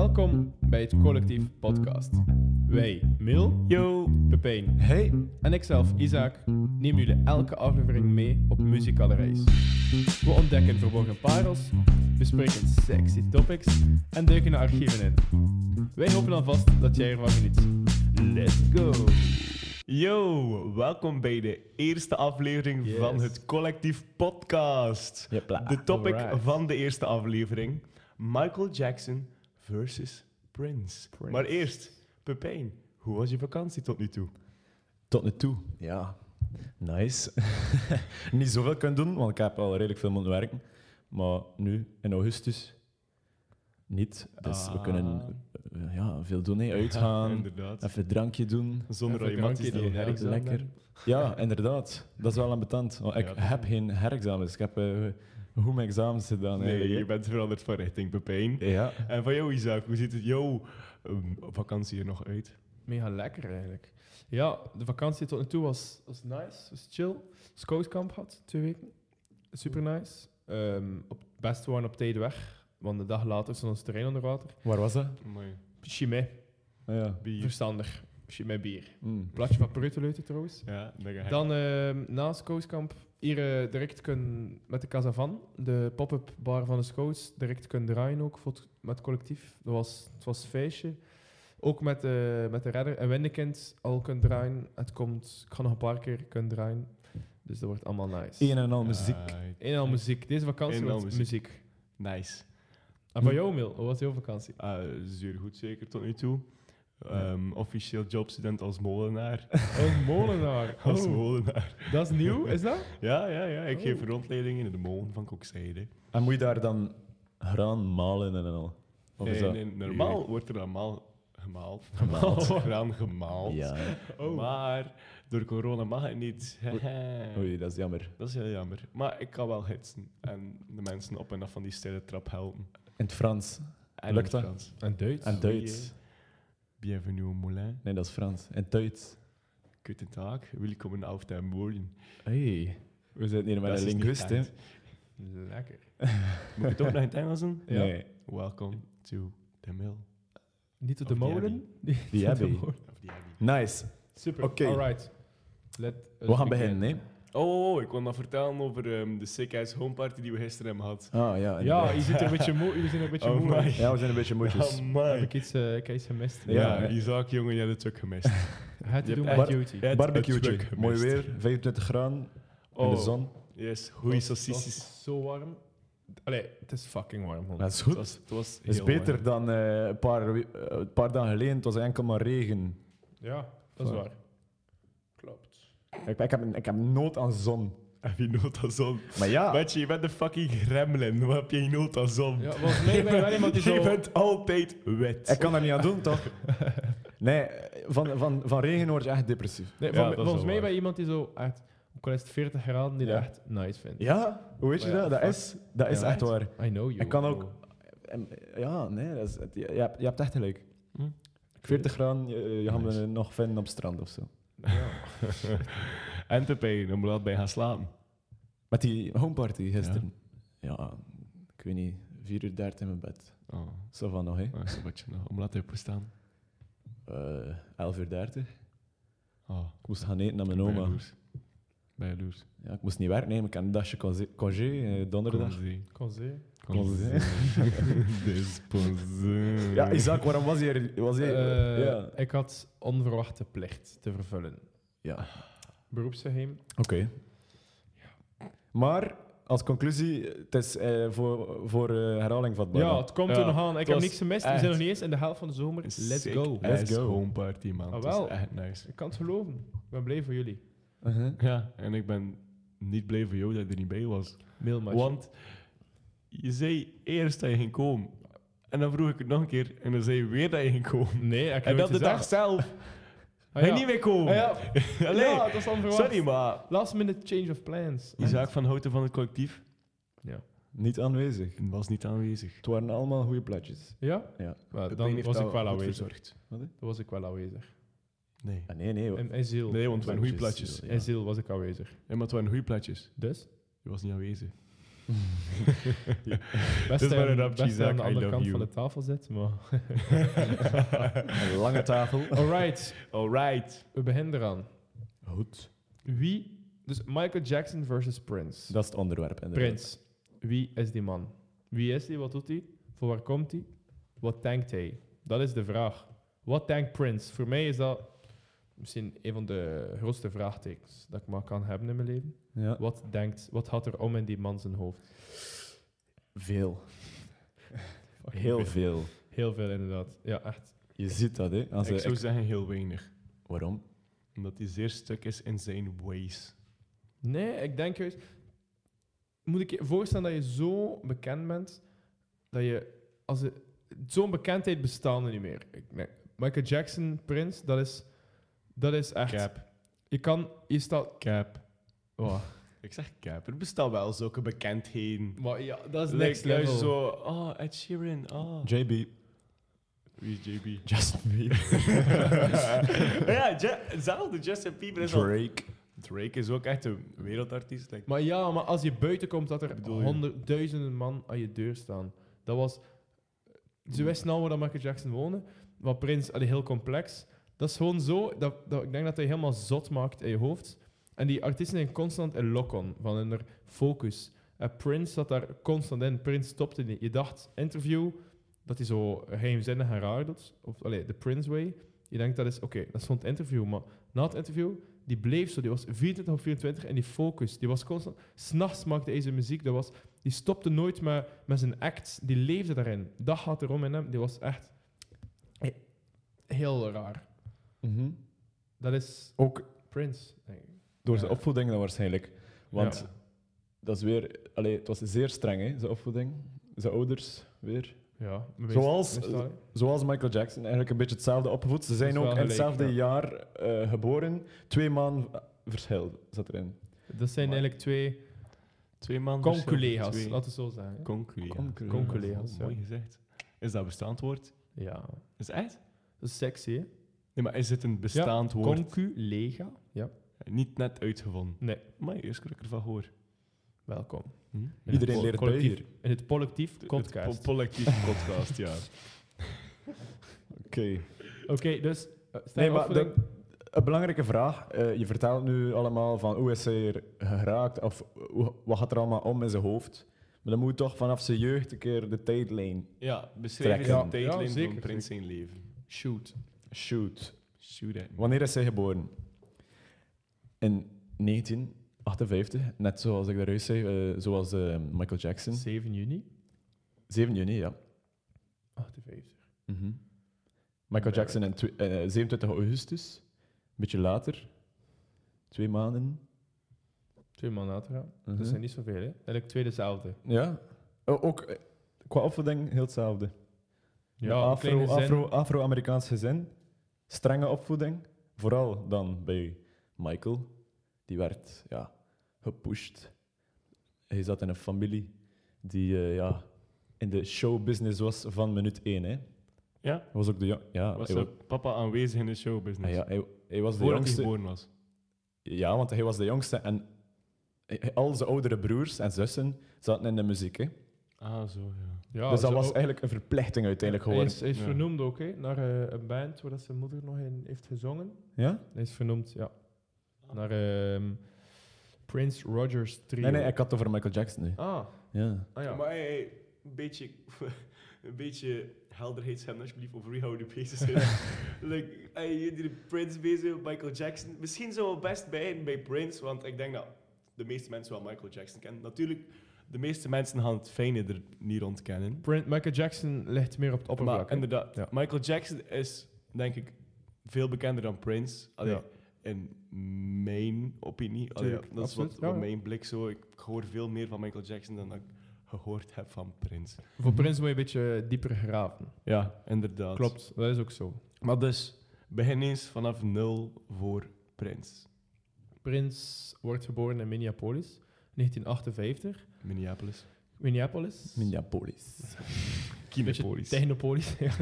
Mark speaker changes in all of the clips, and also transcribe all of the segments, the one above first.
Speaker 1: Welkom bij het Collectief Podcast. Wij, Mil, Yo, Pepijn
Speaker 2: Hey,
Speaker 1: en ikzelf, Isaac, nemen jullie elke aflevering mee op muzikale reis. We ontdekken verborgen parels, bespreken sexy topics en duiken de archieven in. Wij hopen alvast dat jij ervan geniet. Let's go!
Speaker 2: yo, welkom bij de eerste aflevering
Speaker 1: Yes.
Speaker 2: van het Collectief Podcast.
Speaker 1: Jepla,
Speaker 2: De topic
Speaker 1: alright.
Speaker 2: van de eerste aflevering: Michael Jackson versus Prince.
Speaker 1: Prince.
Speaker 2: Maar eerst, Pepijn, hoe was je vakantie tot nu toe?
Speaker 3: Tot nu toe, ja. Nice. Niet zoveel kunnen doen, want ik heb al redelijk veel moeten werken. Maar nu, in augustus, niet. Dus we
Speaker 1: Ah.
Speaker 3: kunnen eh, ja, veel doen, hè.
Speaker 2: Ja,
Speaker 3: uitgaan,
Speaker 2: inderdaad.
Speaker 3: even een drankje doen.
Speaker 2: Zonder dat
Speaker 1: Even
Speaker 2: je
Speaker 1: een
Speaker 2: mat
Speaker 1: drankje
Speaker 2: is
Speaker 1: doen,
Speaker 2: die
Speaker 1: ja.
Speaker 2: ergens aan
Speaker 3: Lekker.
Speaker 2: hebben.
Speaker 3: Ja, inderdaad. Dat is wel ambetant. Want ik
Speaker 2: Ja, dat is
Speaker 3: heb geen herexamens. Dus ik heb eh, goed mijn examens gedaan.
Speaker 2: Nee, je
Speaker 3: eigenlijk,
Speaker 2: bent veranderd van richting, Pepijn.
Speaker 3: hè. Ja.
Speaker 2: En van jou, Isaac, hoe ziet het jouw ehm, vakantie er nog uit?
Speaker 1: Mega lekker eigenlijk. Ja, de vakantie tot nu toe was, was nice, was chill. Scoutkamp had, twee weken. Super nice. Ehm, op, best waren op tijd weg, want de dag later stond ons terrein onder water.
Speaker 3: Waar was dat?
Speaker 2: Mooi.
Speaker 1: Chimay,
Speaker 3: Ah, ja.
Speaker 2: Bier.
Speaker 1: verstandig. Chimay bier.
Speaker 3: Mm.
Speaker 1: Plaatje van Preuteleuter trouwens.
Speaker 2: Ja, dat ga ik-
Speaker 1: Dan ehm, na Scouskamp hier eh, direct kunnen met de Casavan, de pop-up bar van de Scouts, direct kunnen draaien ook voor het- met het collectief. Dat was, het was een feestje. Ook met, eh, met de redder en Wendekind al kunnen draaien. Het komt, ik ga nog een paar keer kunnen draaien. Dus dat wordt allemaal nice.
Speaker 3: Een en al muziek.
Speaker 2: Right.
Speaker 1: Eén en al muziek. Deze vakantie
Speaker 2: Eén en al
Speaker 1: wordt muziek.
Speaker 2: muziek. Ah, Nice.
Speaker 1: En van jou, Mil, hoe was jouw vakantie?
Speaker 2: Eh, zeer goed, zeker tot nu toe. Ehm, Officieel jobstudent als molenaar.
Speaker 3: Oh.
Speaker 1: Een molenaar.
Speaker 2: Als
Speaker 1: Oh,
Speaker 2: molenaar.
Speaker 1: dat is nieuw, is dat?
Speaker 2: Ja, ja, ja. Ik geef
Speaker 1: Oh.
Speaker 2: rondleidingen in de molen van Kokzijde.
Speaker 3: En moet je daar dan graan malen en al? Of
Speaker 2: Nee,
Speaker 3: is dat-
Speaker 2: nee, normaal wordt er normaal gemaald.
Speaker 3: Gemaald.
Speaker 2: Graan gemaald.
Speaker 3: Ja.
Speaker 2: Maar door corona mag het niet.
Speaker 3: Oei, dat is jammer.
Speaker 2: Dat is heel jammer. Maar ik kan wel hitsen en de mensen op en af van die stille trap helpen.
Speaker 3: In het Frans.
Speaker 2: En
Speaker 3: Lukt
Speaker 2: in
Speaker 3: dat?
Speaker 2: Frans.
Speaker 1: En Duits.
Speaker 3: En
Speaker 2: Oei,
Speaker 3: Duits.
Speaker 2: Bienvenue au moulin.
Speaker 3: Nee, dat is Frans. En Duits.
Speaker 2: Guten Tag. Willkommen auf dem Molen.
Speaker 3: Hey. We zitten hier
Speaker 2: Dat
Speaker 3: met een
Speaker 2: is niet
Speaker 3: linguist, hè?
Speaker 2: echt.
Speaker 1: Lekker.
Speaker 2: Moet ik het ook nog in het Engels doen?
Speaker 1: Ja.
Speaker 3: Nee.
Speaker 2: Welcome to the mill.
Speaker 1: Niet op
Speaker 2: Of
Speaker 1: de
Speaker 2: die
Speaker 1: molen. Niet op de
Speaker 3: Abbey.
Speaker 1: molen.
Speaker 2: Of die Abbey.
Speaker 3: Nice.
Speaker 1: Super.
Speaker 3: Oké.
Speaker 1: Alright. Let us
Speaker 3: We gaan beginnen, hè?
Speaker 2: Oh, ik kon nog vertellen over ehm, de Sick House Home Party die we gisteren hebben gehad.
Speaker 3: Ah, ja.
Speaker 1: Ja,
Speaker 3: inderdaad.
Speaker 1: je zit er een beetje moe. Jullie zijn een beetje
Speaker 2: Oh
Speaker 1: moe.
Speaker 2: my.
Speaker 3: Ja, we zijn een beetje moedjes.
Speaker 1: Heb
Speaker 2: Amai.
Speaker 1: ik iets, eh, ik heb iets gemist?
Speaker 3: dus Ja.
Speaker 2: Ja, Isaac, jongen, je hebt het ook gemist.
Speaker 1: Het
Speaker 2: Je
Speaker 1: doen
Speaker 2: hebt
Speaker 1: met
Speaker 3: echt-
Speaker 1: duty.
Speaker 2: Ja. het het
Speaker 3: Barbecue.
Speaker 2: truc
Speaker 3: Mooi
Speaker 2: gemist.
Speaker 3: weer. 25 graden. In de
Speaker 2: Oh,
Speaker 3: zon.
Speaker 2: yes.
Speaker 1: Het
Speaker 2: Goeie
Speaker 1: was-
Speaker 2: sausies.
Speaker 1: het was Zo warm. Allee, het is fucking warm. man.
Speaker 3: Dat is
Speaker 2: Het
Speaker 3: goed.
Speaker 2: was, het was
Speaker 3: Het is
Speaker 2: heel
Speaker 3: beter
Speaker 2: warm.
Speaker 3: dan eh, een paar, we- eh, een paar dagen geleden. Het was enkel maar regen.
Speaker 1: Ja, dat is
Speaker 3: Fuck.
Speaker 1: waar. Klopt.
Speaker 3: Ik, ik, heb, ik heb nood aan zon.
Speaker 2: Heb je nood aan zon?
Speaker 3: Maar ja,
Speaker 2: Weet je, je bent een fucking gremlin. Hoe heb je nood aan zon?
Speaker 1: Ja, volgens mij ben je wel iemand die
Speaker 2: Je
Speaker 1: zo...
Speaker 2: bent altijd wet.
Speaker 3: ik kan er niet aan doen, toch? Nee, van, van, van regen word je echt depressief.
Speaker 1: Nee,
Speaker 2: Ja,
Speaker 1: vol-
Speaker 2: dat is
Speaker 1: volgens
Speaker 2: wel
Speaker 1: mij
Speaker 2: waar.
Speaker 1: ben je iemand die zo echt... Ook al is het 40 graden, die dat
Speaker 3: Ja.
Speaker 1: echt nice vindt.
Speaker 3: Ja, hoe weet je
Speaker 1: Maar ja,
Speaker 3: dat? Dat
Speaker 1: fuck.
Speaker 3: is, dat is
Speaker 1: Ja.
Speaker 3: echt waar.
Speaker 1: I know you.
Speaker 3: Ik kan ook. em, Ja, nee, dat is, het- je, je hebt, je hebt echt gelijk.
Speaker 2: Hm.
Speaker 3: 40 graden, je, je gaat
Speaker 2: Nice.
Speaker 3: me nog vinden op het strand of zo.
Speaker 1: Ja.
Speaker 2: en te pijn, dan moet je altijd bij gaan slapen.
Speaker 3: Met die homeparty gisteren. Ja. ik weet niet, 4 uur 30 in mijn bed.
Speaker 2: Oh,
Speaker 3: Zo van nog, hè?
Speaker 2: dat is een beetje nog. Om laat even staan.
Speaker 3: Eh 11 uur 30.
Speaker 2: Oh,
Speaker 3: Ik moest gaan eten naar mijn
Speaker 2: bij
Speaker 3: oma.
Speaker 2: jaloers. Bij jaloers.
Speaker 3: Ja, ik moest niet werken, nee, maar ik had een dagje congé- congé, eh, donderdag.
Speaker 2: Conzee.
Speaker 1: Kon zien.
Speaker 3: Conzee.
Speaker 2: Desponzee.
Speaker 3: Ja, Isaac, waarom was hij er? Was hij,
Speaker 1: Eh,
Speaker 3: ja.
Speaker 1: Ik had onverwachte plicht te vervullen.
Speaker 3: ja.
Speaker 1: Beroepsgeheim.
Speaker 3: Oké. Maar als conclusie, het is eh, voor, voor eh, herhaling vatbaar.
Speaker 1: Ja, het komt
Speaker 2: Ja,
Speaker 1: er nog aan. Ik
Speaker 2: het
Speaker 1: heb
Speaker 2: was
Speaker 1: niks gemist. We
Speaker 2: echt-
Speaker 1: zijn nog niet eens in de helft van de zomer. Let's
Speaker 2: Sick
Speaker 1: go.
Speaker 3: Let's
Speaker 2: ass
Speaker 3: go.
Speaker 2: home party, man.
Speaker 1: Ah,
Speaker 2: Het
Speaker 1: wel.
Speaker 2: was echt nice.
Speaker 1: Ik kan het geloven. Ik ben blij voor jullie.
Speaker 3: Uh-huh.
Speaker 2: Ja, en ik ben niet blij voor jou dat je er niet bij was.
Speaker 1: Mailmatch.
Speaker 2: Want je zei eerst dat je ging komen. En dan vroeg ik het nog een keer. En dan zei je weer dat je ging komen.
Speaker 1: Nee, ik
Speaker 2: En
Speaker 1: heb
Speaker 2: dat de
Speaker 1: het
Speaker 2: dag
Speaker 1: gezegd.
Speaker 2: zelf.
Speaker 1: Ah,
Speaker 2: Hij
Speaker 1: ja.
Speaker 2: niet meer komen.
Speaker 1: Ah, ja.
Speaker 2: Allee,
Speaker 1: Ja, het was onverwacht.
Speaker 2: sorry, maar...
Speaker 1: Last minute change of plans.
Speaker 2: Isaac van Houten van het collectief
Speaker 3: Niet aanwezig.
Speaker 2: was niet aanwezig.
Speaker 3: Het waren allemaal goede plaatjes.
Speaker 1: Ja?
Speaker 3: Ja.
Speaker 1: Maar
Speaker 2: Pepijn
Speaker 1: dan
Speaker 2: heeft
Speaker 1: was
Speaker 2: dat
Speaker 1: ik wel
Speaker 2: goed
Speaker 1: aanwezig.
Speaker 2: verzorgd.
Speaker 1: Dan was ik wel aanwezig.
Speaker 2: Nee.
Speaker 3: Ah, nee, nee.
Speaker 1: In, in ziel.
Speaker 2: Nee, want het waren goede
Speaker 3: Plaatjes,
Speaker 2: plaatjes.
Speaker 3: ja.
Speaker 1: In ziel was ik aanwezig.
Speaker 2: Ja, maar het waren goede plaatjes.
Speaker 1: Dus?
Speaker 2: Je was niet aanwezig.
Speaker 1: Best
Speaker 2: is
Speaker 1: dat
Speaker 2: maar een
Speaker 1: hij-
Speaker 2: rap
Speaker 1: best dat hij aan
Speaker 2: cheesehack,
Speaker 1: de
Speaker 2: I
Speaker 1: andere
Speaker 2: love
Speaker 1: kant
Speaker 2: you.
Speaker 1: van de tafel zit. Maar...
Speaker 3: Een lange tafel.
Speaker 1: Alright,
Speaker 2: Alright.
Speaker 1: we beginnen eraan.
Speaker 3: Goed.
Speaker 1: Wie... Dus Michael Jackson versus Prince.
Speaker 3: Dat is het onderwerp. inderdaad.
Speaker 1: Prins, wie is die man? Wie is hij? Wat doet hij? Voor waar komt hij? Wat denkt hij? Dat is de vraag. Wat denkt Prince? Voor mij is dat misschien een van de grootste vraagtekens dat ik maar kan hebben in mijn leven.
Speaker 3: Ja.
Speaker 1: Wat denkt, wat had er om in die man zijn hoofd?
Speaker 3: Veel. Heel veel.
Speaker 1: Heel veel inderdaad. Ja, echt.
Speaker 3: Je ziet dat, hè? Als
Speaker 2: Ik
Speaker 3: hij-
Speaker 2: zou zeggen heel weinig.
Speaker 3: Waarom?
Speaker 2: Omdat hij zeer stuk is in zijn ways.
Speaker 1: Nee, ik denk juist. Moet ik je voorstellen dat je zo bekend bent dat je als je- zo'n bekendheid bestaat er niet meer. Ik- nee. Michael Jackson, Prince, dat is dat is echt.
Speaker 2: Cap.
Speaker 1: Je kan je staat.
Speaker 2: Cap.
Speaker 1: Oh,
Speaker 2: Ik zeg cap. Er bestaan wel zulke bekendheden.
Speaker 1: maar ja, dat is
Speaker 2: Like,
Speaker 1: next
Speaker 2: luister
Speaker 1: level.
Speaker 2: zo, oh, Ed Sheeran, oh.
Speaker 3: JB.
Speaker 2: Wie is JB?
Speaker 3: Justin Bieber.
Speaker 2: ja, Ja- hetzelfde. Justin Bieber is al...
Speaker 3: Drake.
Speaker 2: Drake is ook echt een wereldartiest. like.
Speaker 1: Maar ja, maar als je buiten komt, dat er
Speaker 2: bedoel je?
Speaker 1: honderdduizenden man aan je deur staan. Dat was. Ze wisten al waar dat Michael Jackson woonde, maar Prins had heel complex. Dat is gewoon zo, dat, dat, ik denk dat hij helemaal zot maakt in je hoofd. En die artiesten zijn constant in lock-on, van in hun focus. En Prince zat daar constant in. Prince stopte niet. Je dacht, interview, dat hij zo geheimzinnig en raar doet. Of allee, de Prince way. Je denkt, dat is oké, dat stond interview. Maar na het interview, die bleef zo. Die was 24 op 24 en die focus, die was constant... S'nachts maakte hij zijn muziek. Dat was, die stopte nooit met, met zijn acts. Die leefde daarin. Dat gaat erom in hem. Die was echt he- heel raar. Dat is
Speaker 3: Ook
Speaker 1: Prince, denk ik.
Speaker 3: Mm-hmm. door zijn
Speaker 1: Ja.
Speaker 3: opvoeding dan waarschijnlijk. Want
Speaker 1: Ja.
Speaker 3: dat is weer... Allee, het was zeer streng, hè, zijn opvoeding. Zijn ouders weer.
Speaker 1: Ja, maar
Speaker 3: Zoals-
Speaker 1: meestal, hè.
Speaker 3: Zoals Michael Jackson, eigenlijk een beetje hetzelfde opgevoed. Ze zijn
Speaker 1: Dat is
Speaker 3: ook
Speaker 1: wel
Speaker 3: in
Speaker 1: gelijk,
Speaker 3: hetzelfde
Speaker 1: ja.
Speaker 3: jaar eh, geboren. Twee maanden eh, verschil zat erin.
Speaker 1: Dat zijn
Speaker 2: Maar-
Speaker 1: eigenlijk twee
Speaker 2: Twee man
Speaker 1: conculega's,
Speaker 2: verschil.
Speaker 1: laten we het zo zeggen. hè.
Speaker 2: Twee
Speaker 3: Conculega's.
Speaker 1: Conculega's,
Speaker 2: Conculega's. Mooi
Speaker 1: ja.
Speaker 2: gezegd. Is dat bestaand woord?
Speaker 1: Ja,
Speaker 2: Is het echt?
Speaker 1: dat is sexy, hè?
Speaker 2: Nee, maar is het een bestaand woord?
Speaker 1: Conculega. Ja,
Speaker 2: Niet net uitgevonden.
Speaker 1: Nee.
Speaker 2: Maar eerst dat ik ervan hoor.
Speaker 1: welkom.
Speaker 2: Hm?
Speaker 1: In
Speaker 3: Iedereen
Speaker 1: het
Speaker 3: leert bij
Speaker 1: collectief-
Speaker 3: hier.
Speaker 1: In het collectief podcast.
Speaker 2: Het po- collectief podcast, ja.
Speaker 3: Oké.
Speaker 1: Oké, dus... eh, stel
Speaker 3: Nee,
Speaker 1: je
Speaker 3: maar
Speaker 1: op voor
Speaker 3: de- een belangrijke vraag. eh, je vertelt nu allemaal van hoe is hij er geraakt of hoe- wat gaat er allemaal om in zijn hoofd. Maar dan moet je toch vanaf zijn jeugd een keer de tijdlijn
Speaker 2: Ja, beschrijf eens
Speaker 3: Trekken.
Speaker 2: de
Speaker 1: Ja, ja,
Speaker 2: tijdlijn
Speaker 1: zeker,
Speaker 2: van Prins zijn leven.
Speaker 1: Shoot.
Speaker 3: shoot.
Speaker 2: Shoot at me.
Speaker 3: Wanneer is hij geboren? In 1958, net zoals ik daaruit zei, eh, zoals eh, Michael Jackson.
Speaker 1: 7 juni.
Speaker 3: 7 juni, ja.
Speaker 1: 58.
Speaker 3: Mhm. Michael
Speaker 1: Ja.
Speaker 3: Jackson in twe- eh, 27 augustus, een beetje later, twee maanden.
Speaker 1: Twee maanden later, ja.
Speaker 3: Mhm.
Speaker 1: Dat zijn niet zoveel, hè? Eigenlijk twee dezelfde.
Speaker 3: Ja. O- ook eh, qua opvoeding heel hetzelfde.
Speaker 1: Ja,
Speaker 3: Een
Speaker 1: een
Speaker 3: Afro,
Speaker 1: kleine zin.
Speaker 3: Afro, Afro-Amerikaans gezin, strenge opvoeding. Vooral dan bij Michael. Die werd ja, gepusht. Hij zat in een familie die eh, ja, in de showbusiness was van minuut één. Hè.
Speaker 2: Ja?
Speaker 3: Hij was ook de jong- ja,
Speaker 2: Was
Speaker 3: hij,
Speaker 2: er
Speaker 3: wa-
Speaker 2: papa aanwezig in de
Speaker 3: ah,
Speaker 2: showbusiness?
Speaker 3: ja, hij, hij was
Speaker 2: Voordat
Speaker 3: de
Speaker 2: hij
Speaker 3: jongste.
Speaker 2: geboren was.
Speaker 3: Ja, want hij was de jongste en hij- al zijn oudere broers en zussen zaten in de muziek. Hè.
Speaker 2: Ah, zo, ja.
Speaker 1: Ja,
Speaker 3: dus dat
Speaker 1: zo
Speaker 3: was
Speaker 1: ook-
Speaker 3: eigenlijk een verplichting uiteindelijk
Speaker 1: Hij
Speaker 3: geworden.
Speaker 1: is, hij is
Speaker 2: Ja.
Speaker 1: vernoemd ook, hè? Naar eh, een band waar dat zijn moeder nog in heeft gezongen.
Speaker 3: Ja?
Speaker 1: Hij is vernoemd, ja. Naar ehm, Prince Rogers Trio.
Speaker 3: Nee, nee, ik had het over Michael Jackson nu.
Speaker 1: Ah,
Speaker 3: Ja.
Speaker 1: ah ja.
Speaker 2: Maar hey, hey, een beetje, een beetje helderheid hebben alsjeblieft over wie houden bezig zijn. like, hey, hier die Prince bezig, Michael Jackson. Misschien zou we best bij bij Prince, want ik denk dat de meeste mensen wel Michael Jackson kennen. Natuurlijk, de meeste mensen gaan het fijne er niet ontkennen.
Speaker 1: Prin- Michael Jackson ligt meer op het oppervlak.
Speaker 2: Maar
Speaker 1: hè.
Speaker 2: inderdaad,
Speaker 1: Ja.
Speaker 2: Michael Jackson is denk ik veel bekender dan Prince. Allee,
Speaker 1: Ja.
Speaker 2: In mijn opinie. Allee,
Speaker 1: Tuurlijk,
Speaker 2: dat is
Speaker 1: absoluut,
Speaker 2: wat,
Speaker 1: ja,
Speaker 2: wat
Speaker 1: ja.
Speaker 2: mijn blik zo. Ik hoor veel meer van Michael Jackson dan dat ik gehoord heb van Prince.
Speaker 1: Voor Prince moet je een beetje dieper graven.
Speaker 2: Ja, inderdaad.
Speaker 1: Klopt, dat is ook zo.
Speaker 2: Maar dus, begin eens vanaf nul voor Prince.
Speaker 1: Prince wordt geboren in Minneapolis, 1958.
Speaker 2: Minneapolis.
Speaker 1: Minneapolis.
Speaker 3: Minneapolis.
Speaker 2: Kinepolis.
Speaker 1: Technopolis. ja.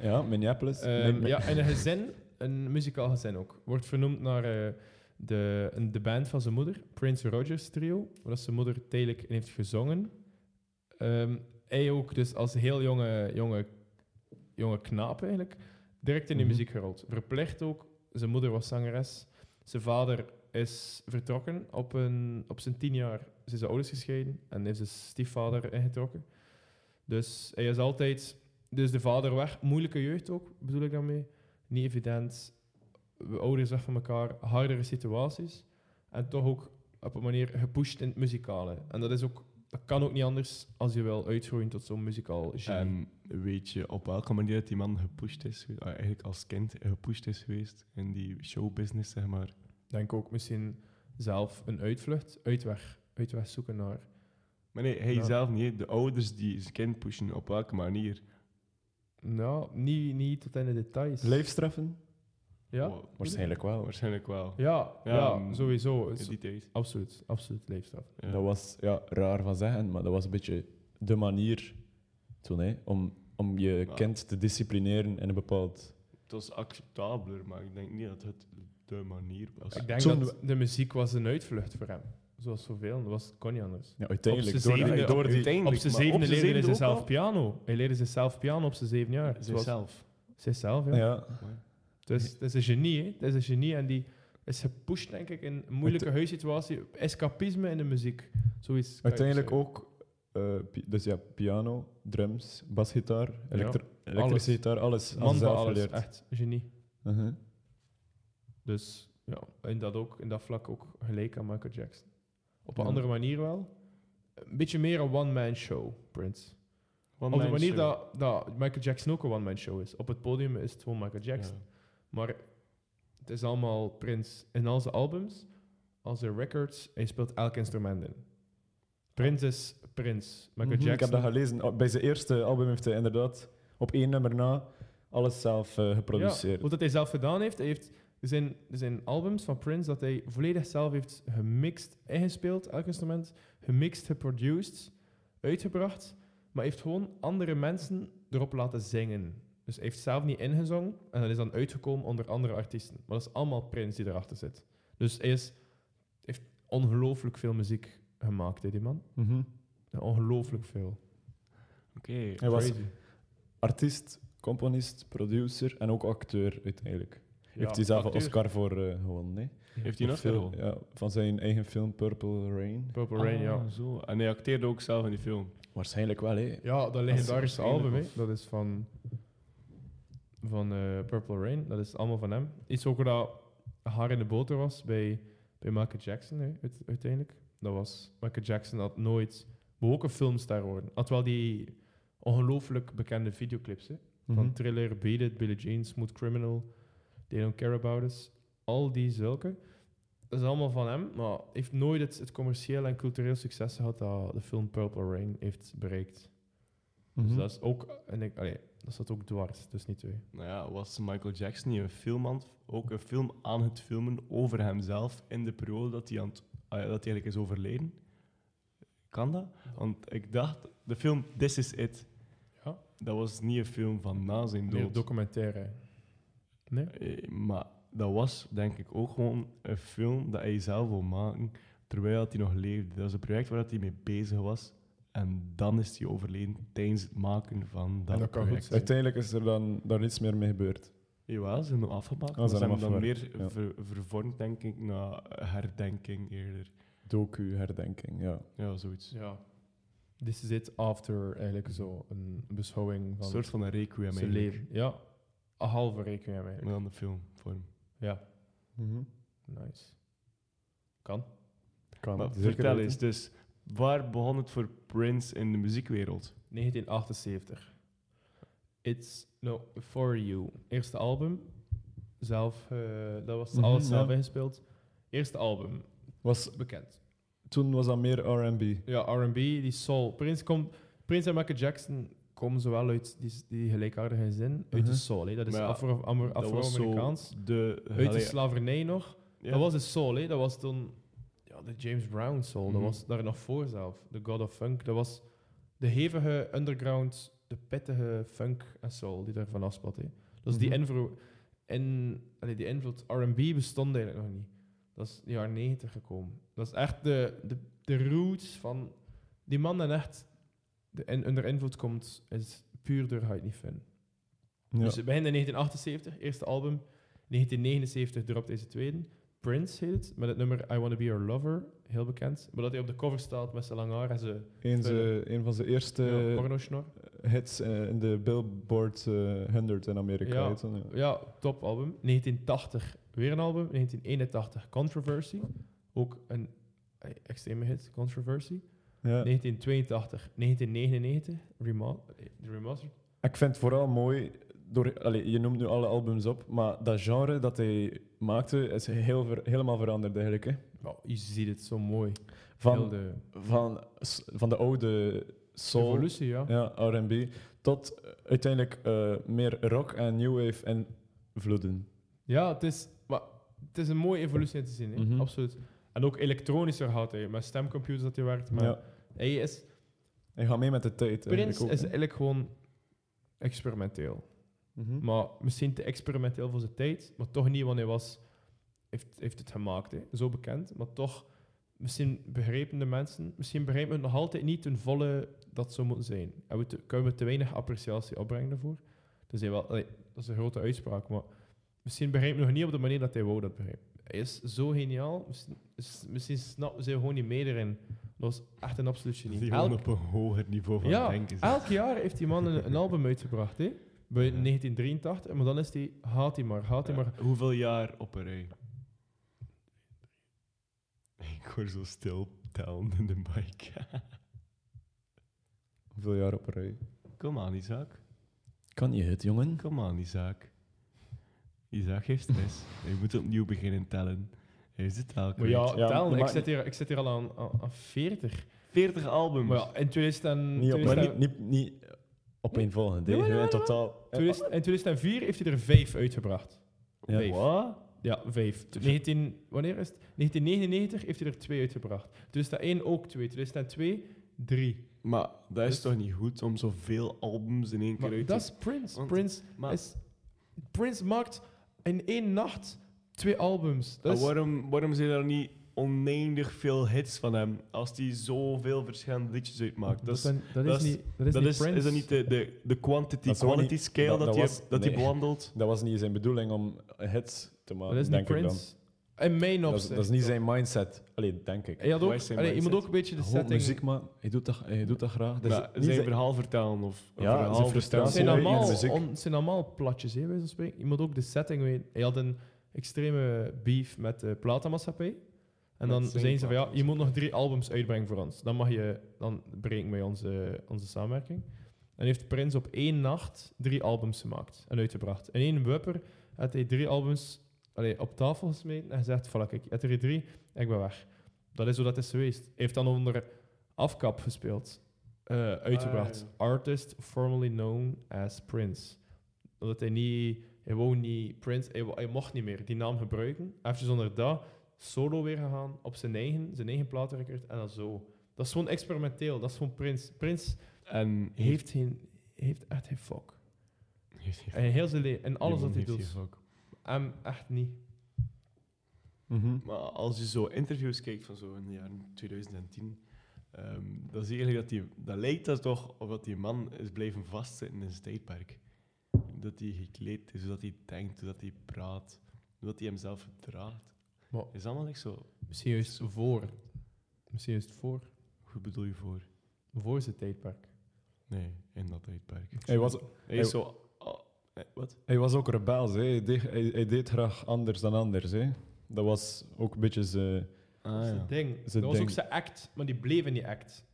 Speaker 3: Ja, Minneapolis.
Speaker 1: Ehm,
Speaker 3: Min- min-
Speaker 1: ja, en een gezin, een muzikaal gezin ook. Wordt vernoemd naar eh, de, een- de band van zijn moeder, Prince Rogers Trio, waar dat zijn moeder tijdelijk in heeft gezongen. Ehm, hij ook dus als heel jonge, jonge, jonge knaap eigenlijk, direct in de
Speaker 3: Mhm.
Speaker 1: muziek gerold. Verplicht ook, zijn moeder was zangeres. Zijn vader is vertrokken op, een, op zijn tien jaar. Zijn zijn ouders gescheiden en heeft zijn stiefvader ingetrokken. Dus hij is altijd... Dus de vader weg. Moeilijke jeugd ook, bedoel ik daarmee. Niet evident. We ouders weg van elkaar. Hardere situaties. En toch ook op een manier gepusht in het muzikale. En dat is ook... Dat kan ook niet anders als je wil uitgroeien tot zo'n muzikaal genie.
Speaker 2: En Ehm, weet je op welke manier dat die man gepusht is, geweest? Ah, eigenlijk als kind gepusht is geweest in die showbusiness, zeg maar.
Speaker 1: Denk ook misschien zelf een uitvlucht, uitweg. Uitweg zoeken naar...
Speaker 2: Maar nee, hij
Speaker 1: Ja.
Speaker 2: zelf niet. hè. De ouders die zijn kind pushen, op welke manier?
Speaker 1: Nou, niet, niet tot in de details.
Speaker 3: Leefstraffen?
Speaker 1: Ja? Hm?
Speaker 2: Wa-
Speaker 3: Waarschijnlijk wel. hoor.
Speaker 2: Waarschijnlijk wel.
Speaker 1: Ja, ja,
Speaker 2: Ja, mm,
Speaker 1: sowieso. Het
Speaker 2: In
Speaker 1: is
Speaker 2: die tijd.
Speaker 1: absoluut, absoluut leefstaf.
Speaker 2: Ja.
Speaker 3: Dat was ja, raar van zeggen, maar dat was een beetje de manier toen, hè, om, om je
Speaker 2: Ja.
Speaker 3: kind te disciplineren in een bepaald...
Speaker 2: Het was acceptabeler, maar ik denk niet dat het de manier was.
Speaker 1: Ik denk
Speaker 3: Toen
Speaker 1: dat de muziek was een uitvlucht voor hem. Zoals zoveel, dat was, kon niet anders.
Speaker 3: Ja, uiteindelijk.
Speaker 1: Op z'n
Speaker 3: door-
Speaker 1: zevende-
Speaker 3: door die,
Speaker 1: Op zijn zevende leerde hij
Speaker 2: ze
Speaker 1: zichzelf piano. Hij leerde zichzelf piano op zijn zeven jaar. Zoals-
Speaker 2: Zichzelf.
Speaker 1: Zichzelf, ja.
Speaker 3: ja,
Speaker 1: Het, is, het is een genie, hè. Het is een genie en die is gepusht, denk ik, in een moeilijke huissituatie. Escapisme in de muziek. Zoiets. kan je
Speaker 3: Uiteindelijk
Speaker 1: zeggen.
Speaker 3: ook, eh, pi- dus ja, piano, drums, basgitaar, elektr- elektrische
Speaker 1: alles.
Speaker 3: gitaar, alles.
Speaker 1: Man van
Speaker 3: zelf
Speaker 1: alles,
Speaker 3: geleerd.
Speaker 1: echt. een Genie.
Speaker 3: Mhm.
Speaker 1: Dus ja, in dat, ook, in dat vlak ook gelijk aan Michael Jackson. Op een
Speaker 3: Ja.
Speaker 1: andere manier wel. Een beetje meer een one-man show, Prince. Op de manier dat, dat Michael Jackson ook een one-man show is. Op het podium is het gewoon Michael Jackson. Maar het is allemaal Prince in al zijn albums, al zijn records. Hij speelt elk instrument in. Prince is Prince. Michael
Speaker 3: Mhm, Ik
Speaker 1: Jackson.
Speaker 3: heb dat gelezen. Oh, Bij zijn eerste album heeft hij inderdaad op één nummer na alles zelf eh,
Speaker 1: Ja,
Speaker 3: geproduceerd.
Speaker 1: wat dat hij zelf gedaan heeft, hij heeft er zijn, er zijn albums van Prince dat hij volledig zelf heeft gemixt, ingespeeld, elk instrument, gemixt, geproduced, uitgebracht, maar heeft gewoon andere mensen erop laten zingen. Dus hij heeft zelf niet ingezongen en dat is dan uitgekomen onder andere artiesten. Maar dat is allemaal Prince die erachter zit. Dus hij is, heeft ongelooflijk veel muziek gemaakt, hè, die man.
Speaker 3: Mhm.
Speaker 1: Ja, Ongelooflijk veel.
Speaker 2: Oké.
Speaker 3: Hij was
Speaker 1: Crazy.
Speaker 3: artiest, componist, producer en ook acteur uiteindelijk. heeft hij
Speaker 1: Ja,
Speaker 3: zelf
Speaker 1: acteur.
Speaker 3: een Oscar voor eh, gewonnen? Nee?
Speaker 2: Heeft hij nog
Speaker 3: Veel,
Speaker 2: veel?
Speaker 3: ja, van zijn eigen film Purple Rain.
Speaker 1: Purple Rain, ja.
Speaker 2: Ah, Zo. En hij acteerde ook zelf in die film.
Speaker 3: Waarschijnlijk wel, hè?
Speaker 1: Ja, dat legendarische
Speaker 2: waarschijnlijk
Speaker 1: album, hè.
Speaker 2: of-
Speaker 1: dat is van, van eh, Purple Rain. Dat is allemaal van hem. Iets ook dat haar in de boter was bij, bij Michael Jackson, hè, uite- uiteindelijk. Dat was, Michael Jackson had nooit, wou ook een filmster worden. Had wel die ongelooflijk bekende videoclips, hè.
Speaker 3: Mhm.
Speaker 1: Van Thriller, Beat It, Billie Jean, Smooth Criminal, They Don't Care About Us. Al die zulke. Dat is allemaal van hem, maar heeft nooit het, het commercieel en cultureel succes gehad dat de film Purple Rain heeft bereikt.
Speaker 3: Mhm.
Speaker 1: Dus dat is ook, en ik, allee, dat staat ook dwars, dus niet twee.
Speaker 2: Nou ja, was Michael Jackson niet een film aan het- ook een film aan het filmen over hemzelf in de periode dat hij, aan het- ah ja, dat hij eigenlijk is overleden? Kan dat? Want ik dacht, de film This Is It,
Speaker 1: Ja.
Speaker 2: dat was niet een film van na zijn
Speaker 1: Meer
Speaker 2: dood.
Speaker 1: documentaire.
Speaker 2: Eh, maar dat was denk ik ook gewoon een film dat hij zelf wil maken terwijl dat hij nog leefde. Dat was een project waar dat hij mee bezig was. En dan is hij overleden tijdens het maken van dat,
Speaker 1: En dat kan goed
Speaker 2: project.
Speaker 1: zijn.
Speaker 3: Uiteindelijk is er dan daar niets meer mee gebeurd.
Speaker 2: Ja, ze hebben hem afgemaakt.
Speaker 3: Ah,
Speaker 2: maar
Speaker 3: ze
Speaker 2: ze
Speaker 3: hebben
Speaker 2: hebben
Speaker 3: hem
Speaker 2: dan meer
Speaker 3: ja.
Speaker 2: ver- vervormd, denk ik, naar herdenking eerder.
Speaker 3: Docu-herdenking, ja.
Speaker 2: Ja, zoiets.
Speaker 1: Ja. This is it after, eigenlijk zo, een beschouwing
Speaker 2: Een
Speaker 1: van
Speaker 2: soort van een requiem
Speaker 1: zijn
Speaker 2: eigenlijk.
Speaker 1: leven. Ja, een halve rekening eigenlijk.
Speaker 2: Maar dan de filmvorm.
Speaker 1: Ja,
Speaker 3: Mhm.
Speaker 1: nice. Kan.
Speaker 3: Kan.
Speaker 2: Maar
Speaker 3: zeker
Speaker 2: vertel
Speaker 3: weten.
Speaker 2: eens, dus waar begon het voor Prince in de muziekwereld?
Speaker 1: 1978. It's No For You. Eerste album. Zelf, eh, dat was
Speaker 3: Mhm,
Speaker 1: alles zelf
Speaker 3: ja.
Speaker 1: ingespeeld. Eerste album,
Speaker 3: Was,
Speaker 1: bekend.
Speaker 3: toen was dat meer R&B.
Speaker 1: Ja, R&B, die soul. Prince, komt, Prince en Michael Jackson komen zowel uit die, die gelijkaardige zin, uit
Speaker 3: Mhm.
Speaker 1: de soul. hè. Dat is
Speaker 2: Maar ja,
Speaker 1: Afro- Amer-
Speaker 2: dat was zo
Speaker 1: Afro-Amerikaans.
Speaker 2: de...
Speaker 1: uit de
Speaker 2: allee,
Speaker 1: slavernij nog.
Speaker 2: ja.
Speaker 1: Dat was de soul, hè. dat was toen ja, de James Brown soul.
Speaker 2: Mhm.
Speaker 1: Dat was daar nog voor zelf. De God of Funk. Dat was de hevige underground, de pittige funk en soul die daarvan afspat. Hè. Dus die
Speaker 3: Mhm.
Speaker 1: invloed, in, allee, die invloed R&B bestond eigenlijk nog niet. Dat is in de jaren 90 gekomen. Dat is echt de, de, de roots van... Die man dat echt de, in, onder invloed komt, is puur door Huid niet Fun.
Speaker 3: Ja.
Speaker 1: Dus het begint in 1978, eerste album. 1979 dropt deze tweede. Prince heet het, met het nummer I Wanna Be Your Lover. Heel bekend. Maar dat hij op de cover staat met zijn lang haar en zijn
Speaker 3: Eens, eh, een van zijn eerste
Speaker 1: ja, porno-snor.
Speaker 3: hits eh, in de Billboard eh, 100 in Amerika.
Speaker 1: Ja.
Speaker 3: weet je wel, ja.
Speaker 1: Ja, topalbum. 1980 weer een album. 1981 Controversy. Ook een eh, extreme hit, Controversy.
Speaker 3: Ja.
Speaker 1: 1982, 1999 rema- eh, Remastered.
Speaker 3: Ik vind het vooral mooi, door, allee, je noemt nu alle albums op, maar dat genre dat hij maakte is heel ver- helemaal veranderd eigenlijk. Hè.
Speaker 1: Wauw, je ziet het zo mooi. Heel
Speaker 3: Van,
Speaker 1: de
Speaker 3: van, s- van de oude soul,
Speaker 1: evolutie, ja.
Speaker 3: ja, R&B, tot eh, uiteindelijk eh, meer rock en new wave en vloeden.
Speaker 1: Ja, het is, maar het is een mooie evolutie om te zien, hè?
Speaker 3: Mhm.
Speaker 1: absoluut. En ook elektronischer gaat hij, met stemcomputers dat hij werkt. Maar
Speaker 3: Ja.
Speaker 1: hij is,
Speaker 3: En ga mee met de tijd. eigenlijk
Speaker 1: Prins
Speaker 3: ook,
Speaker 1: is
Speaker 3: hè.
Speaker 1: eigenlijk gewoon experimenteel.
Speaker 3: Mhm.
Speaker 1: Maar misschien te experimenteel voor zijn tijd, maar toch niet, want hij was, heeft, heeft het gemaakt, hè. zo bekend. Maar toch, misschien begrepen de mensen, misschien begrijpen we het nog altijd niet ten volle dat het zo moet zijn. En we te- kunnen we te weinig appreciatie opbrengen daarvoor. Dus hij wel, allee, dat is een grote uitspraak, maar misschien begrijpen we nog niet op de manier dat hij wou dat begrijpen. Hij is zo geniaal, misschien, is- misschien snappen ze gewoon niet meer erin. Dat was echt een absoluut genie.
Speaker 2: Die
Speaker 1: Elk-
Speaker 2: gewoon op een hoger niveau van
Speaker 1: ja,
Speaker 2: denken zijn.
Speaker 1: elk jaar heeft die man een, een album uitgebracht, hè? Bij 1983, maar dan is die Haat die maar, Haat die maar.
Speaker 2: Hoeveel jaar op een rij? Ik hoor zo stil tellen in de bike.
Speaker 3: Hoeveel jaar op een rij?
Speaker 2: Kom aan, Isaac.
Speaker 3: Kan je het, jongen?
Speaker 2: Kom aan, Isaac. Isaac heeft stress. Je moet opnieuw beginnen tellen. Hij is het elke
Speaker 1: Maar ja,
Speaker 2: week.
Speaker 3: Ja,
Speaker 1: tel,
Speaker 3: maar
Speaker 1: ik
Speaker 3: maakt
Speaker 1: zit, hier, ik zit hier al aan, aan, aan 40.
Speaker 2: 40 albums.
Speaker 1: Maar ja, in 2000,
Speaker 3: Niet op, maar
Speaker 1: 2000
Speaker 3: niet, niet, niet op een volgende.
Speaker 1: Jawel,
Speaker 3: in
Speaker 1: jawel,
Speaker 3: totaal.
Speaker 1: 2000 in 2004 heeft hij er vijf uitgebracht.
Speaker 3: Ja.
Speaker 1: Vijf.
Speaker 2: Wat?
Speaker 1: Ja, vijf. 19, wanneer is het? 1999 heeft hij er twee uitgebracht. 2001 ook twee. 2002 drie.
Speaker 2: Maar dat is
Speaker 1: Dus-
Speaker 2: toch niet goed om zoveel albums in één keer
Speaker 1: Maar
Speaker 2: uit
Speaker 1: dat
Speaker 2: te...
Speaker 1: is Prince.
Speaker 2: Want-
Speaker 1: Prince,
Speaker 2: Maar,
Speaker 1: is, Prince maakt in één nacht twee albums.
Speaker 2: maar
Speaker 3: Ah,
Speaker 1: Dat is,
Speaker 2: waarom, waarom zijn er niet oneindig veel hits van hem als hij zoveel verschillende liedjes uitmaakt? Dat, is,
Speaker 1: zijn- dat
Speaker 2: dat
Speaker 1: is
Speaker 2: is-
Speaker 1: niet dat is
Speaker 2: dat
Speaker 1: niet
Speaker 2: is,
Speaker 1: Prince.
Speaker 2: is dat niet de, de, de
Speaker 3: Dat is ook
Speaker 2: quantity-quality
Speaker 3: niet-
Speaker 2: scale
Speaker 3: dat-
Speaker 2: dat,
Speaker 3: dat
Speaker 2: hij,
Speaker 3: was-
Speaker 2: heeft- dat hij
Speaker 3: nee.
Speaker 2: bewandelt?
Speaker 3: Dat was niet zijn bedoeling om hits te maken,
Speaker 1: Dat is niet
Speaker 3: denk ik dan.
Speaker 1: Prince. In mijn
Speaker 3: Dat is,
Speaker 1: opzicht.
Speaker 3: dat is niet zijn mindset. Allee, denk ik.
Speaker 1: Hij had ook,
Speaker 2: Waar is zijn
Speaker 1: allee, je moet
Speaker 2: mindset?
Speaker 1: ook een beetje de
Speaker 3: Gewoon
Speaker 1: setting...
Speaker 3: muziek, man. Hij doet dat, hij doet dat graag. Dat is
Speaker 2: Maar
Speaker 3: niet
Speaker 2: zijn
Speaker 3: zijn-
Speaker 2: verhaal vertellen of een
Speaker 3: Ja,
Speaker 2: verhaal
Speaker 3: zijn
Speaker 1: Het
Speaker 3: frustratie.
Speaker 1: zijn,
Speaker 3: Ja,
Speaker 2: vertellen.
Speaker 1: allemaal,
Speaker 3: muziek.
Speaker 1: on- het zijn allemaal platjes, hè, bij wijze van spreken. Je moet ook de setting weten. Hij had een extreme beef met de platenmaatschappij. En
Speaker 2: Met
Speaker 1: dan
Speaker 2: zijn
Speaker 1: zeiden ze van, ja, je
Speaker 2: platenmaatschappij.
Speaker 1: moet nog drie albums uitbrengen voor ons. Dan mag je, dan breken wij onze, onze samenwerking. En heeft Prins op één nacht drie albums gemaakt en uitgebracht. In één wupper had hij drie albums allee, op tafel gesmeten en gezegd, voilà, ik heb er hier drie, ik ben weg. Dat is hoe dat is geweest. Hij heeft dan onder afkap gespeeld, eh, uitgebracht.
Speaker 2: Ah,
Speaker 1: Artist formerly known as Prince. Omdat hij niet, hij wou niet Prince, hij, wou- hij mocht niet meer die naam gebruiken. Even onder dat solo weer gegaan op zijn eigen, zijn eigen platenrecord en dan zo. Dat is gewoon experimenteel, dat is gewoon Prince. Prince
Speaker 2: En heeft...
Speaker 1: heeft, geen, heeft echt geen fuck. En heel zijn leven, en alles wat hij doet. Hem echt niet.
Speaker 3: Mhm.
Speaker 2: Maar als je zo interviews kijkt van zo in de jaren 2010, ehm, dan zie je eigenlijk dat die, dat lijkt dat toch of dat die man is blijven vastzitten in zijn tijdperk. Dat hij gekleed is, hoe dat hij denkt, hoe dat hij praat, hoe dat hij hemzelf gedraagt.
Speaker 1: Maar-
Speaker 2: Is allemaal echt zo.
Speaker 1: Misschien juist voor. Misschien juist voor.
Speaker 2: Hoe bedoel je voor?
Speaker 1: Voor zijn tijdperk.
Speaker 2: Nee, in dat tijdperk.
Speaker 3: Hij was,
Speaker 2: Hij is
Speaker 3: Hij-
Speaker 2: zo.
Speaker 1: oh,
Speaker 2: ah, eh, wat?
Speaker 3: hij was ook rebels. Hè. Hij, deed, hij, hij deed graag anders dan anders. Hè. Dat was ook een beetje zijn...
Speaker 2: Ah,
Speaker 1: Dat is het ding.
Speaker 3: Ah, is
Speaker 1: dat
Speaker 3: het
Speaker 1: was ook
Speaker 3: ding.
Speaker 1: zijn act, maar die bleef in die act.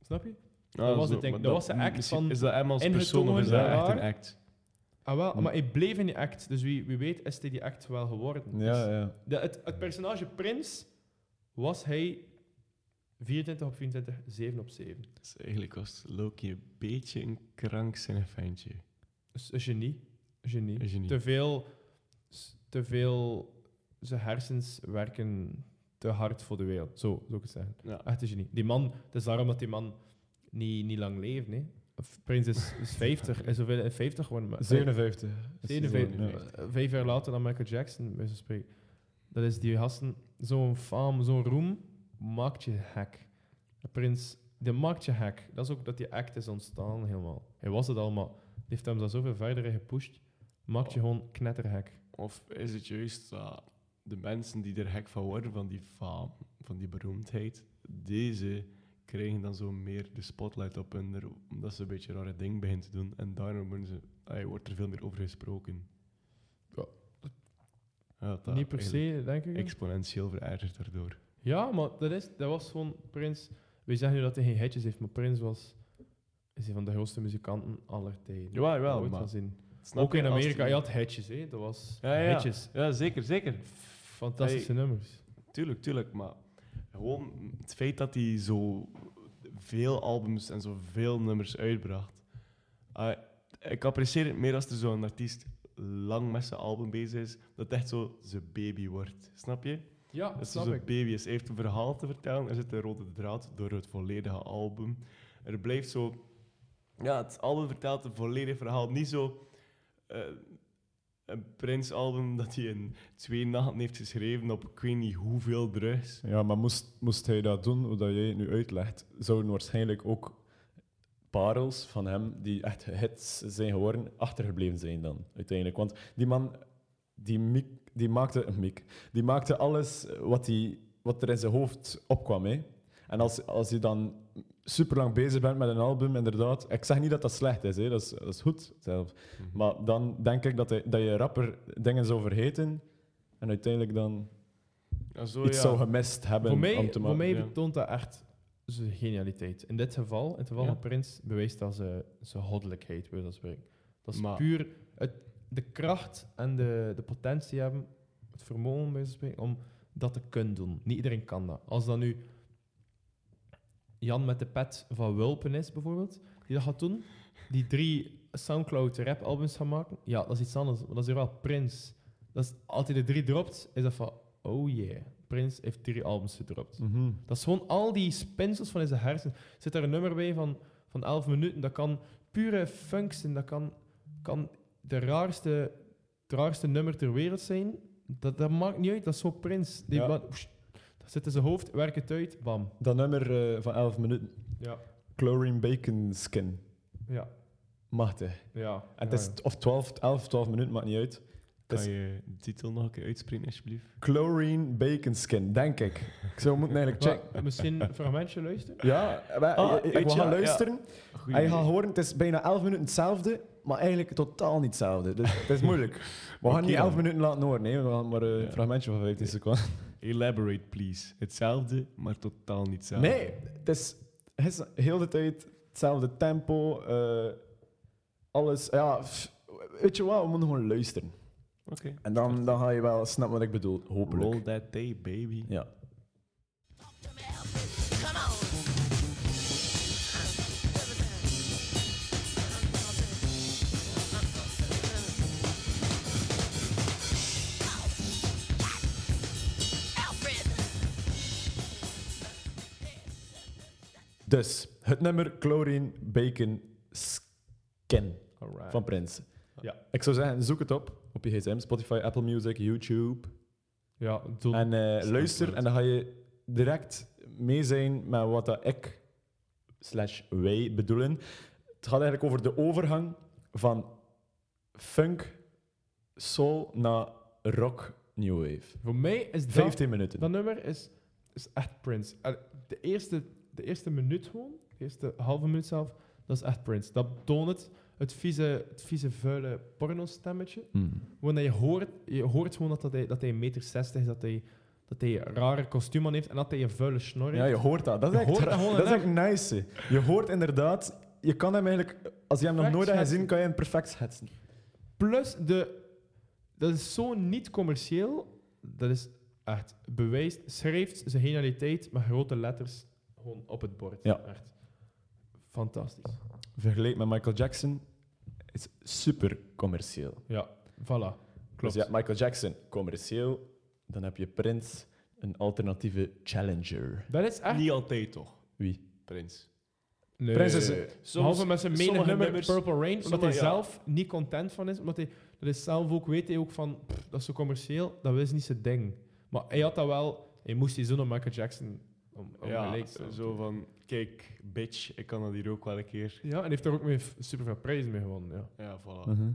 Speaker 1: Snap je? dat was het ding.
Speaker 2: Ah, maar
Speaker 1: Dat was de act
Speaker 2: misschien
Speaker 1: van
Speaker 2: Is dat hem als persoon of
Speaker 1: ingetogen
Speaker 2: is dat echt
Speaker 1: raar.
Speaker 2: een act?
Speaker 1: Ah wel,
Speaker 3: Hm.
Speaker 1: maar hij bleef in die act. Dus wie, wie weet is hij die act wel geworden.
Speaker 3: Ja,
Speaker 1: Dus
Speaker 3: ja.
Speaker 1: de- het, het personage Prins was hij 24 op 24, 7 op 7.
Speaker 2: Dus eigenlijk was Loki een beetje een krankzinnig ventje.
Speaker 1: Dus een genie. Een genie.
Speaker 2: Een genie.
Speaker 1: Te veel... s- Te veel... Zijn hersens werken te hard voor de wereld. Zo zou ik het zeggen.
Speaker 2: Ja.
Speaker 1: Echt een genie. Die man, het is daarom dat die man niet, niet lang leeft, nee. Of Prins is, is 50, is zoveel in 50 geworden. maar-
Speaker 3: 57. is hij zo,
Speaker 1: 57.
Speaker 3: ja.
Speaker 1: Eh, Vijf jaar later dan Michael Jackson, bij zo'n spreken. Dat is die gasten, zo'n faam, zo'n roem, maakt je hek. Prins, die maakt je hek. Dat is ook dat die act is ontstaan helemaal. Hij was het al, maar die heeft hem daar zoveel verder in gepusht. Maakt
Speaker 2: Oh.
Speaker 1: je gewoon knetterhek.
Speaker 2: Of is het juist dat de mensen die er hek van worden, van die faam, van die beroemdheid, deze krijgen dan zo meer de spotlight op hun, er- omdat ze een beetje rare dingen beginnen te doen. En daarom worden ze, ay, wordt er veel meer over gesproken.
Speaker 1: Ja.
Speaker 2: Ja, dat
Speaker 1: Niet per
Speaker 2: eigenlijk
Speaker 1: se, denk ik.
Speaker 2: Exponentieel verergerd daardoor.
Speaker 1: Ja, maar dat, is, dat was gewoon Prins. We zeggen nu dat hij geen hitjes heeft, maar Prins was is een van de grootste muzikanten aller tijden.
Speaker 2: Jawel, jawel,
Speaker 1: Ooit
Speaker 2: maar-
Speaker 1: gaan zien.
Speaker 2: Snap
Speaker 1: Ook
Speaker 2: je?
Speaker 1: in
Speaker 2: Als
Speaker 1: Amerika,
Speaker 2: die-
Speaker 1: je had hitjes, hè? Dat was
Speaker 2: Ja, ja.
Speaker 1: hitjes.
Speaker 2: Ja, zeker, zeker.
Speaker 1: Fantastische nummers.
Speaker 2: Tuurlijk, tuurlijk, maar gewoon het feit dat hij zo veel albums en zoveel nummers uitbracht. Ah, ik apprecieer het meer als er zo'n artiest lang met zijn album bezig is, dat het echt zo zijn baby wordt. Snap je?
Speaker 1: Ja,
Speaker 2: Dat
Speaker 1: snap
Speaker 2: zijn
Speaker 1: ik.
Speaker 2: baby is. Hij heeft een verhaal te vertellen, er zit een rode draad door het volledige album. Er blijft zo... Ja, het album vertelt een volledig verhaal. Niet zo... eh, een Prins-album dat hij in twee nachten heeft geschreven op ik weet niet hoeveel drugs.
Speaker 3: Ja, maar moest, moest hij dat doen, hoe dat jij het nu uitlegt, zouden waarschijnlijk ook parels van hem, die echt hits zijn geworden, achtergebleven zijn dan, uiteindelijk. Want die man, die, miek, die, maakte, een miek, die maakte alles wat, die, wat er in zijn hoofd opkwam. Hè. En als, als je dan super lang bezig bent met een album, inderdaad, ik zeg niet dat dat slecht is, hè. Dat, is dat is goed zelf.
Speaker 2: Mhm.
Speaker 3: Maar dan denk ik dat, hij, dat je rapper dingen zou vergeten en uiteindelijk dan
Speaker 2: Ja, Ah, zo,
Speaker 3: iets
Speaker 2: ja.
Speaker 3: zou gemist hebben
Speaker 1: Oh Voor mij,
Speaker 3: om te
Speaker 1: voor
Speaker 3: maken.
Speaker 1: mij
Speaker 2: ja.
Speaker 1: betoont dat echt zijn genialiteit. In dit geval, in het geval
Speaker 2: Ja.
Speaker 1: van Prins, bewijst dat ze zijn goddelijkheid, wil dat spreken. Dat is
Speaker 2: Maar-
Speaker 1: puur het, de kracht en de, de potentie hebben, het vermogen bij wijze van spreken, om dat te kunnen doen. Niet iedereen kan dat. Als dat nu Jan met de pet van Wulpen is, bijvoorbeeld, die dat gaat doen, die drie Soundcloud rap albums gaan maken, ja, dat is iets anders. Maar dat is wel Prins. Dat is, als hij de drie dropt, is dat van, oh yeah, Prins heeft drie albums gedropt.
Speaker 3: Mhm.
Speaker 1: Dat is gewoon al die spinsels van zijn hersenen. Zit daar een nummer bij van, van 11 minuten? Dat kan pure funk zijn. Dat kan, kan de raarste, het raarste nummer ter wereld zijn. Dat, dat maakt niet uit. Dat is zo Prins. Die
Speaker 3: Ja.
Speaker 1: man- Oesh. dat zit in zijn hoofd, werkt het uit, bam.
Speaker 3: Dat nummer eh, van 11 minuten,
Speaker 1: Ja.
Speaker 3: Chlorine Bacon Skin,
Speaker 1: Ja.
Speaker 3: machtig.
Speaker 1: Ja.
Speaker 3: En het is t- of 12, 11, 12 minuten, maakt niet uit.
Speaker 2: Kan
Speaker 3: is-
Speaker 2: je de titel nog een keer uitspreken, alsjeblieft?
Speaker 3: Chlorine Bacon Skin, denk ik. Ik zou moeten eigenlijk checken.
Speaker 1: Maar misschien een fragmentje luisteren?
Speaker 3: Ja, wij,
Speaker 2: Ah, weet
Speaker 3: ik, we
Speaker 2: je,
Speaker 3: gaan
Speaker 2: ja.
Speaker 3: luisteren.
Speaker 2: Goeie
Speaker 3: en je
Speaker 2: idee.
Speaker 3: gaat horen, het is bijna 11 minuten hetzelfde, maar eigenlijk totaal niet hetzelfde. Dus het is moeilijk. We gaan
Speaker 2: Oké
Speaker 3: niet
Speaker 2: dan.
Speaker 3: 11 minuten laten horen, hè. we gaan maar eh, een
Speaker 2: Ja.
Speaker 3: fragmentje van 15 seconden.
Speaker 2: Elaborate, please. Hetzelfde, maar totaal niet hetzelfde.
Speaker 3: Nee, het is, het is heel de tijd hetzelfde tempo, eh, alles. Ja, pff, weet je wat, we moeten gewoon luisteren.
Speaker 2: Oké.
Speaker 3: En dan, dan ga je wel snappen wat ik bedoel, hopelijk.
Speaker 2: Roll that day, baby.
Speaker 3: Ja. Dus, het nummer Chlorine Bacon Skin
Speaker 1: Alright.
Speaker 3: van Prins.
Speaker 1: Ja.
Speaker 3: Ik zou zeggen, zoek het op op je gsm, Spotify, Apple Music, YouTube.
Speaker 1: Ja, doen.
Speaker 3: En eh, luister, en dan ga je direct mee zijn met wat dat ik slash wij bedoelen. Het gaat eigenlijk over de overgang van funk, soul naar rock, new wave.
Speaker 1: Voor mij is dat...
Speaker 3: 15 minuten.
Speaker 1: Dat nummer is, is echt Prince. En De eerste, de eerste minuut gewoon, de eerste halve minuut zelf, dat is echt Prince. Dat toont het, het vieze, het vieze vuile porno-stemmetje.
Speaker 3: Hmm.
Speaker 1: Wanneer je hoort, je hoort gewoon dat, dat hij, dat hij 1,60 meter 60 is, dat hij, dat hij een rare kostuum aan heeft en dat hij een vuile snor heeft.
Speaker 3: Ja, je hoort dat. Dat is
Speaker 1: Je
Speaker 3: echt,
Speaker 1: hoort dat gewoon
Speaker 3: dat is echt nice. hè. Je hoort inderdaad, je kan hem eigenlijk, als je hem nog
Speaker 1: Perfect
Speaker 3: nooit hebt gezien,
Speaker 1: schetsen.
Speaker 3: kan je hem perfect schetsen.
Speaker 1: Plus, de, dat is zo niet commercieel. Dat is echt bewijs. Schrijft zijn genialiteit met grote letters gewoon op het bord.
Speaker 3: Ja.
Speaker 1: Echt fantastisch.
Speaker 3: Vergeleken met Michael Jackson, is super commercieel.
Speaker 1: Voilà, klopt.
Speaker 3: Dus ja, Michael Jackson, commercieel. Dan heb je Prince, een alternatieve challenger.
Speaker 1: Dat is echt...
Speaker 2: Niet altijd, toch?
Speaker 3: Wie?
Speaker 2: Prins.
Speaker 1: Nee.
Speaker 2: Eh,
Speaker 3: Prinsessen.
Speaker 1: Behalve met zijn mene
Speaker 2: sommige
Speaker 1: nummer
Speaker 2: nummers-
Speaker 1: Purple Rain, omdat hij
Speaker 2: sommige- ja.
Speaker 1: zelf niet content van is. Omdat hij dat is zelf ook weet hij ook van, pff, dat is zo commercieel, dat is niet zijn ding. Maar hij had dat wel... Hij moest die zoen op Michael Jackson om, om
Speaker 2: ja,
Speaker 1: gelijk te staan.
Speaker 2: zo van, kijk, bitch, ik kan dat hier ook wel een keer.
Speaker 1: Ja, en hij heeft er ook mee, super veel prijzen mee gewonnen. Ja.
Speaker 2: Ja, voilà.
Speaker 3: Mhm.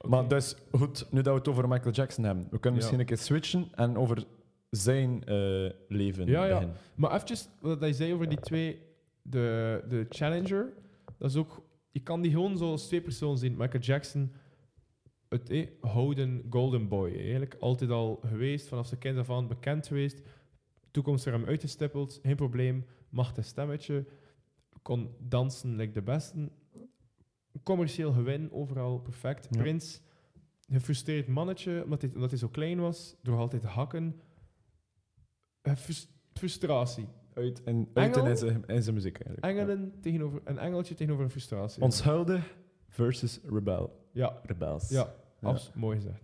Speaker 3: Maar dus, goed, nu dat we het over Michael Jackson hebben, we kunnen
Speaker 1: Ja.
Speaker 3: misschien een keer switchen en over zijn eh, leven
Speaker 1: Ja, ja.
Speaker 3: beginnen.
Speaker 1: Maar eventjes wat hij zei over die twee, de, de Challenger, dat is ook, je kan die gewoon zo als twee personen zien. Michael Jackson, het eh, houden golden boy, eigenlijk altijd al geweest, vanaf zijn kind af aan bekend geweest, toekomst er hem uitgestippeld, geen probleem, macht een stemmetje, kon dansen like de besten, commercieel gewin, overal perfect.
Speaker 3: Ja.
Speaker 1: Prins, gefrustreerd mannetje, omdat hij, omdat hij zo klein was, door altijd hakken. Eh, frus- Frustratie.
Speaker 3: Uit, en, uit en
Speaker 1: Engel?
Speaker 3: in, zijn, in zijn muziek eigenlijk. Ja.
Speaker 1: Engelen tegenover, een engeltje tegenover een frustratie.
Speaker 3: Onschuldig versus rebel.
Speaker 1: ja,
Speaker 3: Rebels.
Speaker 1: Ja.
Speaker 3: Oké.
Speaker 1: abs- mooi gezegd.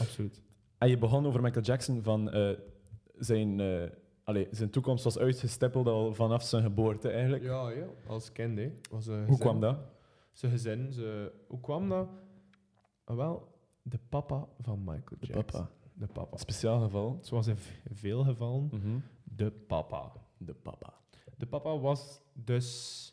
Speaker 1: Absoluut.
Speaker 3: En je begon over Michael Jackson van eh, zijn, eh, allee, zijn toekomst was uitgestippeld al vanaf zijn geboorte eigenlijk.
Speaker 1: Ja, ja. Als kind, hè. Was een
Speaker 3: Hoe kwam dat?
Speaker 1: Zijn gezin. Ze, hoe kwam dat? Ah, wel, de papa van Michael
Speaker 3: De
Speaker 1: Jackson.
Speaker 3: papa.
Speaker 1: De papa.
Speaker 3: Speciaal geval.
Speaker 1: Zoals in v- veel gevallen,
Speaker 3: Mhm.
Speaker 1: de papa.
Speaker 3: De papa.
Speaker 1: De papa was dus...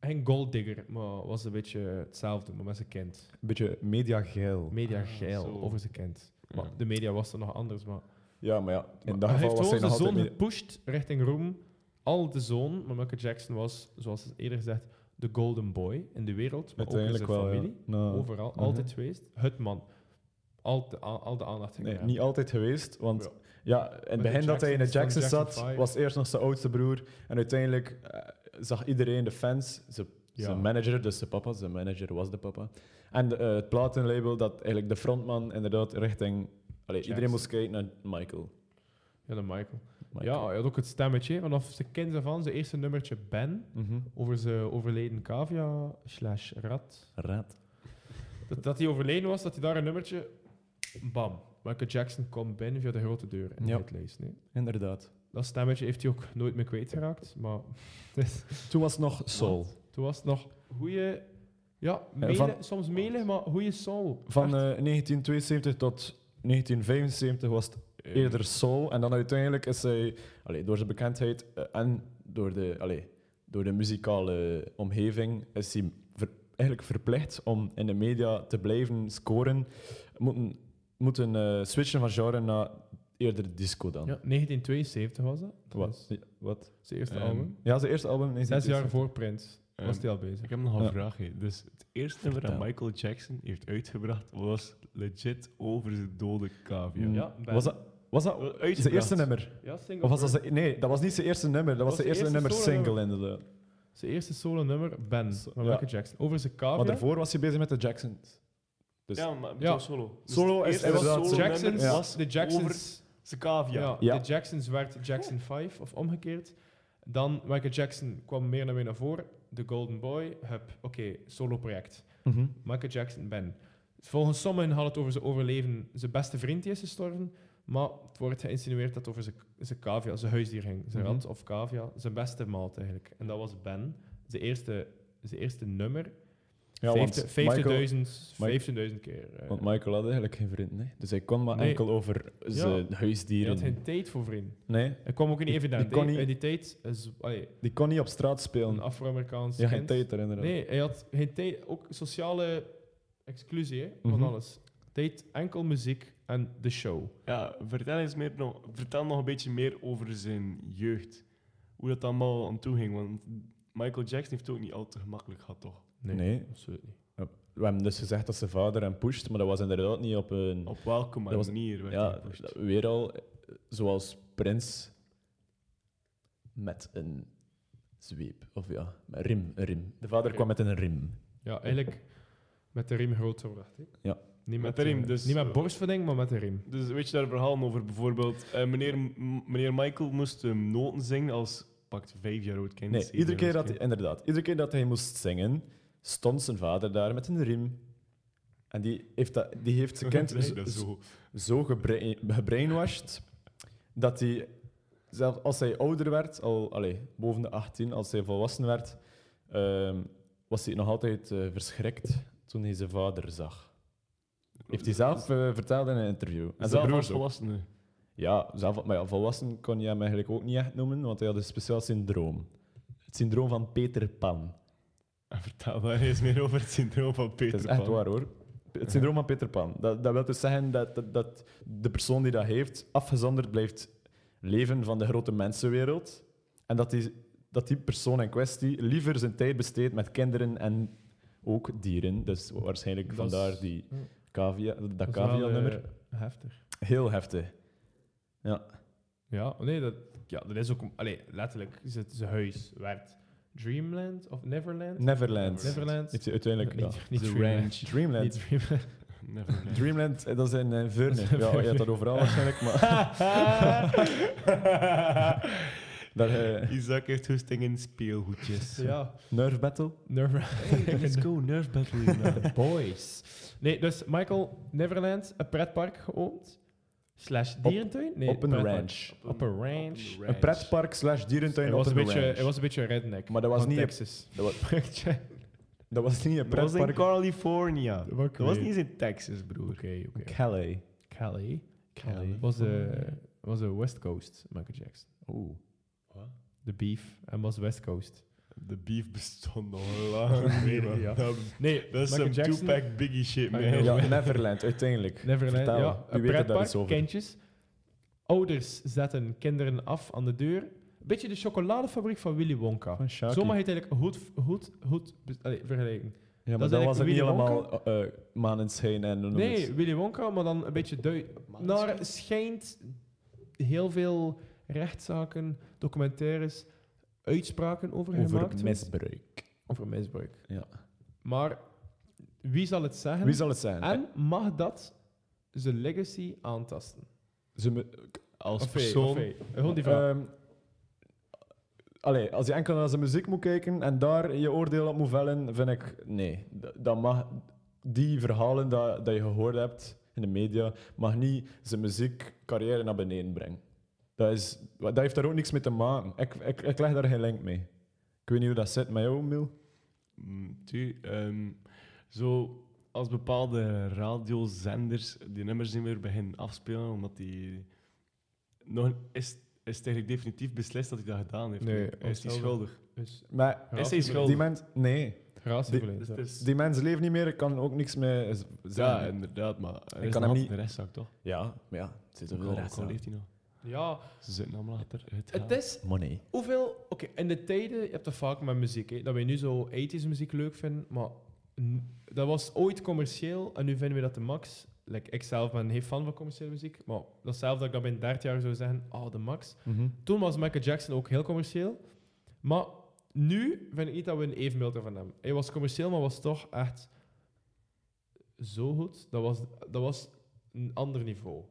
Speaker 1: Geen golddigger, maar was een beetje hetzelfde, maar met zijn kind.
Speaker 3: Een beetje mediageil.
Speaker 1: Media
Speaker 2: Ah,
Speaker 1: geil
Speaker 2: zo.
Speaker 1: over zijn kind.
Speaker 2: Ja.
Speaker 1: Maar de media was er nog anders, maar...
Speaker 3: Ja, maar ja, in dat
Speaker 1: hij
Speaker 3: geval
Speaker 1: heeft
Speaker 3: was hij
Speaker 1: gewoon
Speaker 3: nog
Speaker 1: zijn
Speaker 3: altijd...
Speaker 1: zoon
Speaker 3: media-
Speaker 1: gepusht richting Roem. Al de zoon, maar Michael Jackson was, zoals eerder gezegd, de golden boy in de wereld. Maar ook in zijn
Speaker 3: Uiteindelijk wel, ja.
Speaker 1: familie. Oh.
Speaker 3: Nou,
Speaker 1: Overal,
Speaker 3: Mhm.
Speaker 1: altijd geweest. Het man. Al de, al, al de aandacht.
Speaker 3: Nee,
Speaker 1: gekregen.
Speaker 3: niet altijd geweest, want
Speaker 1: Ja.
Speaker 3: ja. in het
Speaker 1: Met de
Speaker 3: begin dat hij in de
Speaker 1: Jacksons,
Speaker 3: Jackson
Speaker 1: dan
Speaker 3: zat,
Speaker 1: Jackson Five.
Speaker 3: was eerst nog zijn oudste broer. En uiteindelijk eh, zag iedereen, de fans, zijn,
Speaker 1: Ja.
Speaker 3: zijn manager, dus zijn papa, zijn manager was de papa. En de, eh, het platenlabel, dat eigenlijk de frontman inderdaad richting... Allee,
Speaker 1: Jackson.
Speaker 3: iedereen moest kijken naar Michael.
Speaker 1: Ja, de Michael. Ja, oh
Speaker 3: Michael.
Speaker 1: hij had ook het stemmetje. Vanaf zijn kind af aan, zijn eerste nummertje Ben,
Speaker 3: Mhm.
Speaker 1: over zijn overleden cavia slash rat.
Speaker 3: Raad.
Speaker 1: Dat, dat hij overleden was, dat hij daar een nummertje... Bam. Michael Jackson komt binnen via de grote deur in
Speaker 3: Ja.
Speaker 1: het lijst. Nee.
Speaker 3: Inderdaad.
Speaker 1: Dat stemmetje heeft hij ook nooit meer kwijtgeraakt, maar... het is-
Speaker 3: Toen was het nog Soul.
Speaker 1: Toen was het nog goede. Ja,
Speaker 3: van-
Speaker 1: mele- soms melig, maar goede soul.
Speaker 3: Van eh,
Speaker 1: Echt.
Speaker 3: 1972 tot 1975 was het
Speaker 1: Eh.
Speaker 3: eerder soul. En dan uiteindelijk is hij, allee, door zijn bekendheid eh, en door de, allee, door de muzikale omgeving, is hij ver- eigenlijk verplicht om in de media te blijven scoren. Moeten, moeten eh, switchen van genre naar eerder disco dan.
Speaker 1: ja, 1972 was dat. dat
Speaker 3: eh, Wat?
Speaker 1: is
Speaker 3: Wat?
Speaker 1: Zijn eerste
Speaker 2: Ehm,
Speaker 1: album.
Speaker 3: Ja, zijn eerste album.
Speaker 1: Zes
Speaker 3: 1972.
Speaker 1: jaar voor Prince was
Speaker 2: Ehm,
Speaker 1: hij al bezig.
Speaker 2: Ik heb nog een
Speaker 3: Ja.
Speaker 2: vraag. hè. Dus het eerste nummer dat
Speaker 3: Vertel.
Speaker 2: Michael Jackson heeft uitgebracht was legit over zijn dode cavia.
Speaker 3: Mm.
Speaker 1: Ja, ben.
Speaker 3: Was dat, was dat
Speaker 2: Uitgebracht.
Speaker 3: zijn eerste nummer?
Speaker 1: Ja, single.
Speaker 3: Of was dat zijn- nee, dat was niet zijn eerste nummer. Dat was zijn eerste, nummer
Speaker 1: solo-nummer.
Speaker 3: single inderdaad.
Speaker 1: Zijn eerste solo nummer, Ben,
Speaker 3: Zo-
Speaker 1: van
Speaker 3: ja.
Speaker 1: Michael Jackson. Over zijn cavia.
Speaker 3: Maar daarvoor was hij bezig met de Jacksons. Dus
Speaker 2: Ja, maar
Speaker 1: Ja.
Speaker 2: ja. solo. Dus
Speaker 3: Solo
Speaker 2: het
Speaker 3: is
Speaker 2: eerste
Speaker 1: Hij was
Speaker 3: inderdaad
Speaker 2: solo
Speaker 3: zijn-
Speaker 1: Jacksons,
Speaker 2: nummer
Speaker 3: Ja.
Speaker 2: was
Speaker 1: de Jacksons,
Speaker 2: over zijn cavia.
Speaker 1: ja,
Speaker 3: Ja.
Speaker 1: de Jacksons werd Jackson 5 of omgekeerd. Dan Michael Jackson kwam meer naar mij naar voren. De Golden Boy, hup, oké, solo project.
Speaker 3: Mhm.
Speaker 1: Michael Jackson ben. Volgens sommigen had het over zijn overleven. Zijn beste vriend die is gestorven. Maar het wordt geïnsinueerd dat het over zijn, zijn cavia, zijn huisdier ging. Zijn
Speaker 3: Mhm.
Speaker 1: rat of cavia. Zijn beste maat eigenlijk. En dat was Ben. Zijn eerste, zijn eerste nummer.
Speaker 3: Ja, want
Speaker 1: 50
Speaker 3: Michael-
Speaker 1: 50.000
Speaker 3: Michael-
Speaker 1: 15.000 keer. eh.
Speaker 3: Want Michael had eigenlijk geen vrienden, hè? dus hij kon maar
Speaker 1: Nee.
Speaker 3: enkel over zijn
Speaker 1: Hij
Speaker 3: huisdieren.
Speaker 1: had geen tijd voor vrienden.
Speaker 3: nee,
Speaker 1: Hij kwam ook niet
Speaker 3: Die-
Speaker 1: evident.
Speaker 3: die kon
Speaker 1: hè.
Speaker 3: niet-
Speaker 1: In die tijd is allee,
Speaker 3: die kon niet op straat
Speaker 1: een
Speaker 3: spelen.
Speaker 1: Afro-Amerikaans
Speaker 3: Ja, geen
Speaker 1: kind.
Speaker 3: tijd er inderdaad.
Speaker 1: Nee, hij had geen tijd. Ook sociale exclusie hè, van
Speaker 3: Mhm.
Speaker 1: alles. Tijd enkel muziek en de show.
Speaker 2: Ja, vertel eens meer nog, vertel nog een beetje meer over zijn jeugd. Hoe dat allemaal aan toe ging, want Michael Jackson heeft het ook niet al te gemakkelijk gehad, toch?
Speaker 3: Nee.
Speaker 1: Absoluut niet.
Speaker 3: We hebben dus gezegd dat zijn vader hem pusht, maar dat was inderdaad niet op een...
Speaker 2: Op welke
Speaker 3: Mm. Dat was-
Speaker 2: manier werd hij
Speaker 3: ja,
Speaker 2: gepusht?
Speaker 3: dat- weer al, eh, zoals Prins, met een zweep. Of ja, met rim, een rim. De vader
Speaker 1: Oké.
Speaker 3: kwam met een rim.
Speaker 1: Ja, eigenlijk met de riem groot gebracht. hè.
Speaker 3: Ja.
Speaker 1: Niet met,
Speaker 2: Met de riem,
Speaker 1: eh,
Speaker 2: dus-
Speaker 1: Niet met borstvoeding, maar met de riem.
Speaker 2: Dus weet je daar verhalen over? Bijvoorbeeld, eh, meneer, m- meneer Michael moest eh, noten zingen als pakt vijf jaar oud kind.
Speaker 3: Nee,
Speaker 2: zeven
Speaker 3: iedere keer
Speaker 2: jaar
Speaker 3: dat
Speaker 2: oud
Speaker 3: hij,
Speaker 2: kind.
Speaker 3: inderdaad, iedere keer dat hij moest zingen, stond zijn vader daar met een rim. En die heeft, dat, die heeft zijn kind
Speaker 2: Nee, dat is
Speaker 3: zo-
Speaker 2: zo.
Speaker 3: zo gebra- gebrainwashed dat hij, zelfs als hij ouder werd, al allee, boven de 18, als hij volwassen werd, ehm, was hij nog altijd eh, verschrikt toen hij zijn vader zag. Heeft hij zelf eh, verteld in een interview. En
Speaker 2: En
Speaker 3: zijn
Speaker 2: zelf
Speaker 3: broer
Speaker 2: als
Speaker 3: zo.
Speaker 2: volwassene.
Speaker 3: Ja, zelf, maar ja, volwassen kon je hem eigenlijk ook niet echt noemen, want hij had een speciaal syndroom. Het syndroom van Peter Pan.
Speaker 2: En vertel daar eens meer over het syndroom van Peter
Speaker 3: Het is echt
Speaker 2: Pan.
Speaker 3: waar hoor. Het syndroom van Peter Pan. Dat, dat wil dus zeggen dat, dat, dat de persoon die dat heeft afgezonderd blijft leven van de grote mensenwereld. En dat die, dat die persoon in kwestie liever zijn tijd besteedt met kinderen en ook dieren. Dus waarschijnlijk
Speaker 1: Dat is-
Speaker 3: vandaar die
Speaker 1: ja.
Speaker 3: cavia, dat
Speaker 1: is wel,
Speaker 3: cavia-nummer.
Speaker 1: eh, heftig.
Speaker 3: Heel heftig.
Speaker 1: Ja, nee, dat, ja, dat is ook... Allee, letterlijk is het zijn huis. Werd Dreamland of Neverland?
Speaker 3: Neverland.
Speaker 1: Neverland.
Speaker 3: Heeft hij uiteindelijk.
Speaker 1: Niet-
Speaker 3: ja.
Speaker 1: niet
Speaker 3: The
Speaker 1: Dreamland.
Speaker 3: Ranch. Dreamland.
Speaker 1: Niet Dreamland.
Speaker 2: Never
Speaker 3: Dreamland, eh, dat is in eh, Veurne. Ja, je hebt dat overal waarschijnlijk, maar... Daar, eh,
Speaker 2: Isaac heeft hoesting in speelgoedjes.
Speaker 1: ja,
Speaker 3: Nerve Battle.
Speaker 1: Neverland.
Speaker 2: let's go, nerve battle. inderdaad.
Speaker 1: Boys. Nee, dus Michael, Neverland, een pretpark geopend. Slash dierentuin? Nee,
Speaker 3: op een
Speaker 1: pretpark.
Speaker 3: ranch.
Speaker 1: Op een ranch.
Speaker 4: Op
Speaker 3: Een pretpark slash dierentuin
Speaker 1: Hij
Speaker 3: op
Speaker 1: was, een
Speaker 3: een
Speaker 1: beetje,
Speaker 3: ranch.
Speaker 1: hij was een beetje een redneck.
Speaker 3: Maar dat was
Speaker 1: van
Speaker 3: niet een-
Speaker 1: Texas.
Speaker 3: dat, was,
Speaker 1: Oké,
Speaker 3: dat was niet een
Speaker 2: Dat was in
Speaker 3: pretpark.
Speaker 2: California.
Speaker 1: Dat was
Speaker 2: Dat was
Speaker 1: weer-
Speaker 2: niet eens in Texas, broer.
Speaker 1: oké.
Speaker 3: Calais.
Speaker 1: Cali.
Speaker 2: Cali.
Speaker 1: Was de, was de West Coast, Michael Jackson.
Speaker 3: Oeh.
Speaker 1: De beef. En was West Coast.
Speaker 2: De beef bestond al lang niet, man.
Speaker 1: Ja.
Speaker 2: Dat,
Speaker 1: Nee,
Speaker 2: dat is
Speaker 1: Michael
Speaker 2: een
Speaker 1: Jackson,
Speaker 2: two-pack biggie shit, man.
Speaker 1: Michael
Speaker 3: Ja, Neverland, uiteindelijk.
Speaker 1: Neverland,
Speaker 3: Vertel,
Speaker 1: ja.
Speaker 3: wie
Speaker 1: Een
Speaker 3: weet er daar
Speaker 1: pretpark,
Speaker 3: iets over?
Speaker 1: kindjes. Ouders zetten kinderen af aan de deur. Beetje de chocoladefabriek van Willy Wonka.
Speaker 3: Van Sharky.
Speaker 1: Zo mag je het eigenlijk goed, goed, goed be- allee, vergelijken.
Speaker 3: Ja, maar
Speaker 1: dat
Speaker 3: dat
Speaker 1: is
Speaker 3: was het niet
Speaker 1: eigenlijk Willy
Speaker 3: helemaal eh eh, maan en schijn en noem het.
Speaker 1: Nee, Willy Wonka, maar dan een beetje duid. Naar schijnt heel veel rechtszaken, documentaires, uitspraken over, gemaakt.
Speaker 3: over
Speaker 1: werd.
Speaker 3: misbruik.
Speaker 1: Over misbruik.
Speaker 3: Ja.
Speaker 1: Maar wie zal het zeggen?
Speaker 3: Wie zal het zijn?
Speaker 1: En mag dat zijn legacy aantasten?
Speaker 3: Ze me-
Speaker 2: Als
Speaker 1: Of hij-
Speaker 2: persoon...
Speaker 1: of hij- Gewoon die vraag.
Speaker 3: Ehm, allee, als je enkel naar zijn muziek moet kijken en daar je oordeel op moet vellen, vind ik nee. D- Dat mag, die verhalen dat, dat je gehoord hebt in de media, mag niet zijn muziekcarrière naar beneden brengen. Dat, is, wa- dat heeft daar ook niks mee te maken. Ik, ik, ik leg daar geen link mee. Ik weet niet hoe dat zit met jou, Mil.
Speaker 2: Mm, Tu, ehm, zo als bepaalde radiozenders die nummers niet meer beginnen afspelen, omdat die nog is, is het eigenlijk definitief beslist dat hij dat gedaan heeft.
Speaker 1: Nee,
Speaker 2: Hij is hij
Speaker 1: hetzelfde.
Speaker 2: schuldig.
Speaker 1: Dus
Speaker 3: Maar
Speaker 2: Hij is hij
Speaker 3: die
Speaker 2: schuldig.
Speaker 3: mens, nee,
Speaker 1: ratieverlening.
Speaker 2: Dus
Speaker 1: ja.
Speaker 2: het is-
Speaker 3: die mens leeft niet meer. Ik kan ook niks meer z-
Speaker 2: ja,
Speaker 3: zeggen.
Speaker 2: inderdaad, maar
Speaker 3: Ik
Speaker 2: er is
Speaker 3: kan
Speaker 2: kan
Speaker 3: hem
Speaker 2: hem
Speaker 3: niet-
Speaker 2: de restzaak toch?
Speaker 3: Ja, maar ja, het zit
Speaker 2: Ook
Speaker 3: over
Speaker 2: al-
Speaker 3: de
Speaker 2: ook
Speaker 3: rest.
Speaker 2: al leeft hij nog.
Speaker 1: Ja,
Speaker 2: Ze zitten allemaal achter het
Speaker 1: het is
Speaker 3: Money.
Speaker 1: hoeveel. Oké, in de tijden, je hebt dat vaak met muziek, hè, dat we nu zo 80s muziek leuk vinden, maar n- dat was ooit commercieel en nu vinden we dat de max. Like, ik zelf ben geen fan van commerciële muziek, maar datzelfde dat ik dat binnen 30 jaar zou zeggen, oh, de max.
Speaker 3: Mhm.
Speaker 1: Toen was Michael Jackson ook heel commercieel. Maar nu vind ik niet dat we een evenbeeld hebben van hem. Hij was commercieel, maar was toch echt zo goed. Dat was, dat was een ander niveau.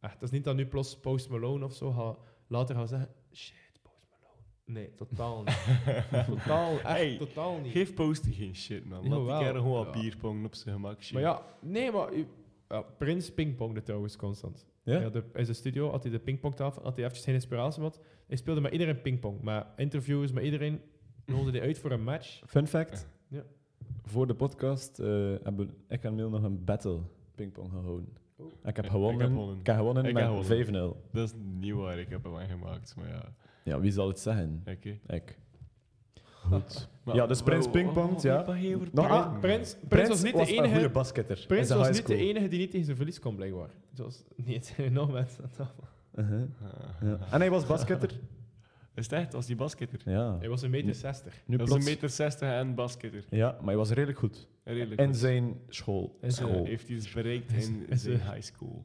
Speaker 1: Echt, dat is niet dat nu plots Post Malone of zo ga, later gaan zeggen... Shit, Post Malone. Nee, totaal niet. totaal, echt
Speaker 2: Hey,
Speaker 1: totaal niet.
Speaker 2: Geef posten geen shit, man. Laat die
Speaker 1: Jawel.
Speaker 2: kerel gewoon
Speaker 1: Ja.
Speaker 2: wat bierpong op zijn gemak. shit.
Speaker 1: Maar ja, nee, maar... u- ja, Prins pingpongde trouwens constant.
Speaker 3: Ja?
Speaker 1: Ja, de, in zijn studio had hij de pingpongtafel, had hij eventjes geen inspiratie, want hij speelde met iedereen pingpong. Maar interviews met iedereen nolde hij uit voor een match.
Speaker 3: Fun fact.
Speaker 1: Ja.
Speaker 3: Voor de podcast eh, hebben ik en Miel nog een battle pingpong gehouden.
Speaker 1: Oh.
Speaker 3: Ik heb
Speaker 2: Ik-
Speaker 3: gewonnen.
Speaker 2: ik heb gewonnen.
Speaker 3: ik heb gewonnen
Speaker 2: Ik heb
Speaker 3: met
Speaker 2: gewonnen.
Speaker 3: 5-0.
Speaker 2: Dat is niet waar, ik heb hem aangemaakt. Maar ja,
Speaker 3: Ja, wie zal het zeggen?
Speaker 2: oké.
Speaker 3: Ik.
Speaker 2: Goed.
Speaker 3: Ja, dus Prins Pingpong, ja. Nog-
Speaker 1: Ah,
Speaker 3: ah,
Speaker 1: Prins, Prins, was niet de
Speaker 3: een goede
Speaker 1: enige.
Speaker 3: basketter. in
Speaker 1: Prins
Speaker 3: zijn
Speaker 1: was
Speaker 3: high
Speaker 1: niet de
Speaker 3: school.
Speaker 1: enige die niet tegen zijn verlies kon, blijkbaar. Het was niet nog mensen aan tafel.
Speaker 3: Uh-huh, ja. En hij was basketter.
Speaker 2: Is het echt? Was die basketter?
Speaker 3: ja.
Speaker 1: Hij was een meter 60.
Speaker 3: Nu
Speaker 2: dat is
Speaker 3: plots.
Speaker 2: een meter 60 en basketter.
Speaker 3: Ja, maar hij was redelijk goed.
Speaker 2: Redelijk.
Speaker 3: In
Speaker 2: goed.
Speaker 3: zijn school.
Speaker 1: En zijn-
Speaker 2: Eh,
Speaker 3: school.
Speaker 2: heeft iets bereikt
Speaker 1: Is-
Speaker 2: in
Speaker 1: is,
Speaker 2: zijn
Speaker 1: eh,
Speaker 2: high school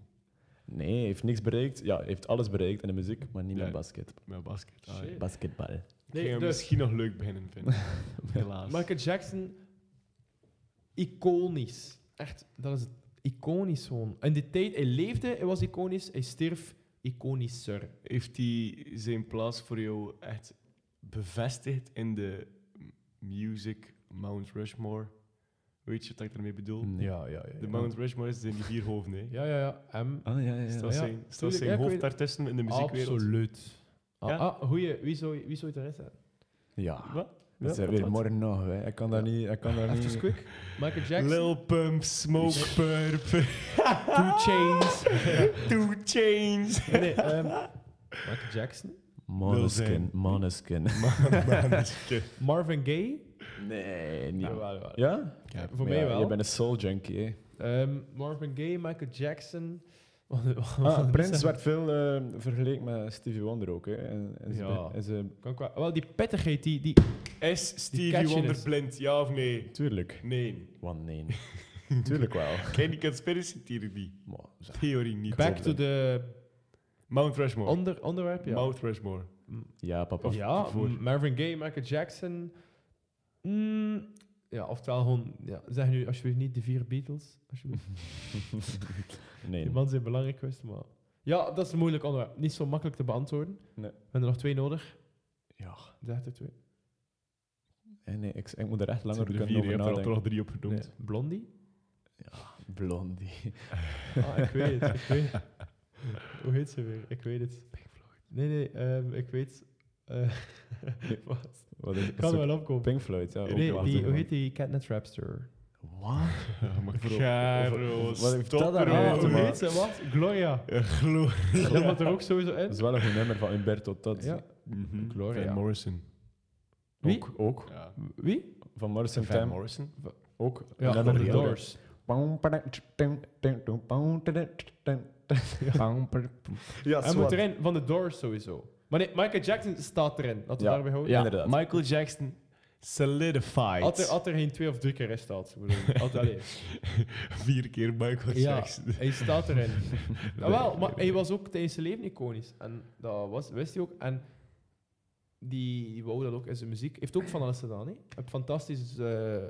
Speaker 3: Nee, hij heeft niks bereikt. Ja, hij heeft alles bereikt in de muziek, maar niet
Speaker 2: Ja.
Speaker 3: met basket.
Speaker 2: met basket. Ah,
Speaker 1: Shit.
Speaker 3: Basketbal.
Speaker 2: Ik ging
Speaker 1: Nee,
Speaker 2: hem
Speaker 1: dus-
Speaker 2: misschien nog leuk beginnen vinden. Helaas.
Speaker 1: Michael Jackson, iconisch. Echt, dat is het. Iconisch gewoon. In die tijd, hij leefde, hij was iconisch. Hij stierf, iconischer.
Speaker 2: Heeft hij zijn plaats voor jou echt bevestigd in de m- music Mount Rushmore? Weet je wat ik daarmee bedoel?
Speaker 3: Nee.
Speaker 1: Ja, ja, ja.
Speaker 2: De Mount Rushmore is in die vier hoofden. hè.
Speaker 1: Ja, ja, ja. M.
Speaker 3: Ah, ja, ja, ja.
Speaker 2: Staat
Speaker 1: ja.
Speaker 2: zijn, staat
Speaker 1: Tuurlijk, ja,
Speaker 2: zijn
Speaker 1: ik
Speaker 2: hoofd
Speaker 1: weet-
Speaker 2: daartussen in de muziekwereld.
Speaker 1: Absoluut. Ah,
Speaker 2: Ja?
Speaker 1: ah, goeie, wie zou, wie zou het erin zetten?
Speaker 3: Ja.
Speaker 2: Wat?
Speaker 3: dat
Speaker 1: Ja,
Speaker 3: is weer
Speaker 1: dat-
Speaker 3: morgen nog. Hè. Ik kan daar niet... Ik kan daar
Speaker 1: Even
Speaker 3: niet...
Speaker 1: quick. Michael Jackson.
Speaker 2: Lil Pump, Smoke Purp,
Speaker 1: Two Chains.
Speaker 2: Two Chains.
Speaker 1: nee, nee, ehm, Michael Jackson.
Speaker 3: Maneskin.
Speaker 2: zijn.
Speaker 3: Maneskin.
Speaker 1: Marvin Gaye.
Speaker 3: Nee, niet.
Speaker 1: Jawel, jawel.
Speaker 3: Ja?
Speaker 1: Voor
Speaker 3: Maar
Speaker 1: mij
Speaker 3: ja,
Speaker 1: wel.
Speaker 3: Je bent een soul junkie, hè.
Speaker 1: Ehm, Marvin Gaye, Michael Jackson.
Speaker 3: Ah, Prins
Speaker 1: wat
Speaker 3: werd veel eh, vergeleken met Stevie Wonder ook. Hè. En, en ze-
Speaker 1: Ja.
Speaker 3: en ze-
Speaker 1: Kan ik wel, wel, die pettigheid, die, die...
Speaker 2: Is Stevie
Speaker 1: catchiness.
Speaker 2: Wonder blind, ja of nee?
Speaker 3: tuurlijk.
Speaker 2: Nee.
Speaker 3: Want nee. tuurlijk wel.
Speaker 2: Ken die conspiracy theorie?
Speaker 3: Maar, zeg,
Speaker 2: Theorie niet.
Speaker 1: Back to the
Speaker 2: Mount Rushmore.
Speaker 1: onder, onderwerp, ja.
Speaker 2: Mount Rushmore.
Speaker 3: ja, papa.
Speaker 1: Of ja,
Speaker 2: voor.
Speaker 1: M- Marvin Gaye, Michael Jackson. Mm, ja, oftewel gewoon... Ja, zeg nu alsjeblieft niet de vier Beatles. Alsjeblieft.
Speaker 3: nee.
Speaker 1: Die man zijn belangrijk geweest, maar... Ja, dat is een moeilijk onderwerp. Niet zo makkelijk te beantwoorden.
Speaker 3: Nee.
Speaker 1: We hebben er nog twee nodig.
Speaker 3: Ja.
Speaker 1: Zeg er twee.
Speaker 3: Eh, nee ik, ik moet er echt
Speaker 2: Het
Speaker 3: langer
Speaker 2: zijn er
Speaker 3: kunnen
Speaker 2: vier, je
Speaker 3: over
Speaker 2: hebt er al
Speaker 3: nadenken.
Speaker 2: toch drie op genoemd.
Speaker 1: Nee, Blondie?
Speaker 3: Blondie.
Speaker 1: Ah, ik weet het. Ik weet het. Hoe heet ze weer? Ik weet het. Nee, nee, ehm, ik weet... eh, wat?
Speaker 3: Wat is,
Speaker 1: Kan
Speaker 3: is
Speaker 1: er wel opkomen.
Speaker 3: Pink Floyd, ja. ook
Speaker 1: Nee,
Speaker 3: wel
Speaker 1: die,
Speaker 3: tegen,
Speaker 1: hoe heet die Catnet Rapster?
Speaker 3: man. Wat?
Speaker 1: Ah.
Speaker 2: maar
Speaker 3: Bro,
Speaker 2: Caro,
Speaker 3: wat heeft dat
Speaker 2: stop
Speaker 3: daar mee
Speaker 2: ermee
Speaker 3: te
Speaker 2: te
Speaker 1: hoe
Speaker 3: maken?
Speaker 1: heet ze? Wat? Gloria.
Speaker 2: Gloria.
Speaker 1: Dat moet er ook sowieso
Speaker 3: Dat is
Speaker 1: in.
Speaker 3: wel een goed nummer van Umberto Tozzi.
Speaker 1: Ja. Gloria.
Speaker 2: Van Morrison.
Speaker 1: Wie?
Speaker 3: Ook, ook.
Speaker 2: Ja.
Speaker 1: Wie?
Speaker 3: Van Morrison
Speaker 2: Van
Speaker 3: Time.
Speaker 2: Morrison.
Speaker 3: Ook.
Speaker 1: Ja,
Speaker 3: Een
Speaker 1: van de
Speaker 3: nummer door.
Speaker 1: Doors.
Speaker 4: Ja,
Speaker 1: Hij moet
Speaker 4: zwart.
Speaker 1: erin, van de Doors sowieso. Maar nee, Michael Jackson staat erin. Laten we
Speaker 3: Ja,
Speaker 1: daarbij houden.
Speaker 3: ja, inderdaad.
Speaker 2: Michael Jackson. Solidified.
Speaker 1: Had er, had er geen twee of drie keer in staat. ik bedoel. Had- allee.
Speaker 2: Vier keer Michael
Speaker 1: Ja,
Speaker 2: Jackson.
Speaker 1: hij staat erin. Nou, wel, maar hij was ook tijdens zijn leven iconisch. En dat was, wist hij ook. En die, die wou dat ook in zijn muziek. Heeft ook van alles gedaan. Hè? Een fantastisch, eh,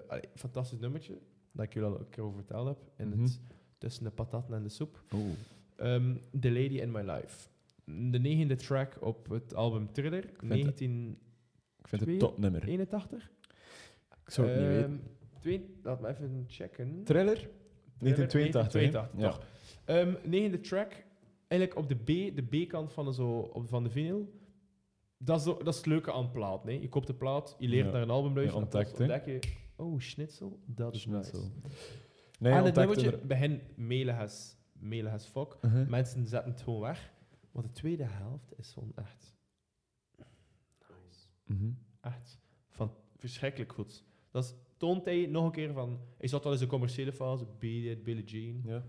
Speaker 1: allee, fantastisch nummertje. Dat ik jullie al een keer over verteld heb. In het,
Speaker 3: Mhm.
Speaker 1: tussen de pataten en de soep.
Speaker 3: Oeh.
Speaker 1: Ehm, The Lady in My Life. De negende track op het album Thriller,
Speaker 3: vind het-
Speaker 1: 1981.
Speaker 3: Ik vind het
Speaker 1: Twee-
Speaker 3: een topnummer. Ik zou het niet
Speaker 1: Ehm,
Speaker 3: weten.
Speaker 1: twee- laat me even checken.
Speaker 3: Thriller? Niet in 82, hè?
Speaker 1: 1982, toch. Ehm, negende track, eigenlijk op de B, de B-kant van de, zo, op, van de vinyl. Dat is, zo- dat is het leuke aan plaat. Nee? Je koopt de plaat, je leert
Speaker 3: Ja.
Speaker 1: naar een album luisteren.
Speaker 3: Je
Speaker 1: en plots
Speaker 3: ontdekt,
Speaker 1: ontdek je, oh, schnitzel, dat is
Speaker 3: Schnitzel.
Speaker 1: nice.
Speaker 3: Nee,
Speaker 1: en het
Speaker 3: ontdekt
Speaker 1: nummertje, Uh-huh.
Speaker 3: inderdaad.
Speaker 1: begin melig as, melig as fuck.
Speaker 3: Mhm.
Speaker 1: Mensen zetten het gewoon weg. Want de tweede helft is gewoon echt,
Speaker 3: Mhm.
Speaker 1: echt van, verschrikkelijk goed. Dat is, toont hij nog een keer van... Hij zat wel eens in de commerciële fase, Beat It, Billie Jean.
Speaker 3: Ja.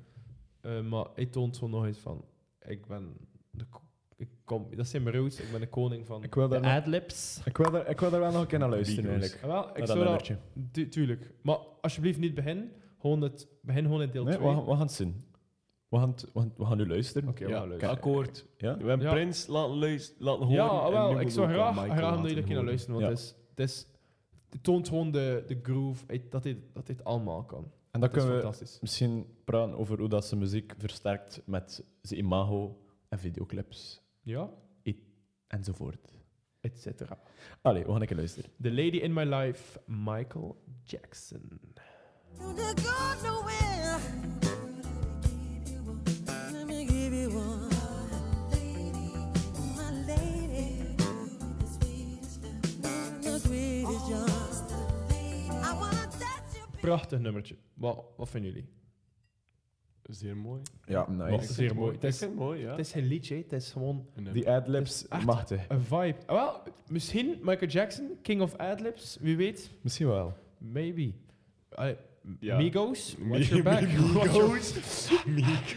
Speaker 1: Eh, maar hij toont zo nog eens van... Ik ben... De, ko- ik kom, dat zijn mijn roots, ik ben de koning van
Speaker 3: Ik wil
Speaker 1: de
Speaker 3: daar nog-
Speaker 1: adlibs.
Speaker 3: Ik wil daar- Ik wil daar wel nog een keer naar luisteren,
Speaker 2: Beatles.
Speaker 3: eigenlijk.
Speaker 1: Ah, wel, ik
Speaker 3: dus? Naar dat
Speaker 1: zou dat...
Speaker 3: nummertje.
Speaker 1: tu- tuurlijk. Maar alsjeblieft niet begin. Gewoon het, begin gewoon in deel
Speaker 3: Nee,
Speaker 1: 2.
Speaker 3: we, gaan- we gaan het zien. We gaan, het- we gaan, we gaan nu luisteren.
Speaker 1: Oké, we
Speaker 2: Ja,
Speaker 1: gaan luisteren.
Speaker 2: akkoord.
Speaker 3: Ja?
Speaker 2: We hebben
Speaker 1: Ja.
Speaker 2: Prins laten, luis- laten horen.
Speaker 1: Ja,
Speaker 2: en nu
Speaker 1: wel, ik
Speaker 2: moeten
Speaker 1: zou
Speaker 2: we ook aan
Speaker 1: graag,
Speaker 2: Michael
Speaker 1: graag dat
Speaker 2: laten
Speaker 1: jullie een keer naar
Speaker 2: horen.
Speaker 1: luisteren, want
Speaker 3: Ja.
Speaker 1: het, is, het, is, het toont gewoon de, de groove, eh, dat dit, dat dit allemaal kan.
Speaker 3: En dan
Speaker 1: Dat is
Speaker 3: kunnen we
Speaker 1: fantastisch.
Speaker 3: misschien praten over hoe dat zijn muziek versterkt met zijn imago en videoclips
Speaker 1: Ja,
Speaker 3: enzovoort.
Speaker 1: et cetera.
Speaker 3: Allee, we gaan een keer luisteren.
Speaker 1: The Lady in My Life, Michael Jackson.
Speaker 5: You did God nowhere. Let me give you one. My lady. The sweetest young. I wanna touch you.
Speaker 1: Prachtig nummertje. Wat, wat vinden jullie?
Speaker 2: Zeer mooi.
Speaker 3: Ja,
Speaker 1: Wat
Speaker 3: nice.
Speaker 1: zeer mooi. Het
Speaker 2: Dat
Speaker 1: is,
Speaker 2: is mooi, ja.
Speaker 1: het is geen liedje, het is gewoon
Speaker 3: Die adlibs,
Speaker 1: Het is echt-
Speaker 3: machtig.
Speaker 1: een vibe. Ah, wel, misschien Michael Jackson, King of Adlibs, wie weet.
Speaker 3: Misschien wel.
Speaker 1: Maybe. Allee,
Speaker 2: Ja.
Speaker 1: Migos, watch your back. Watch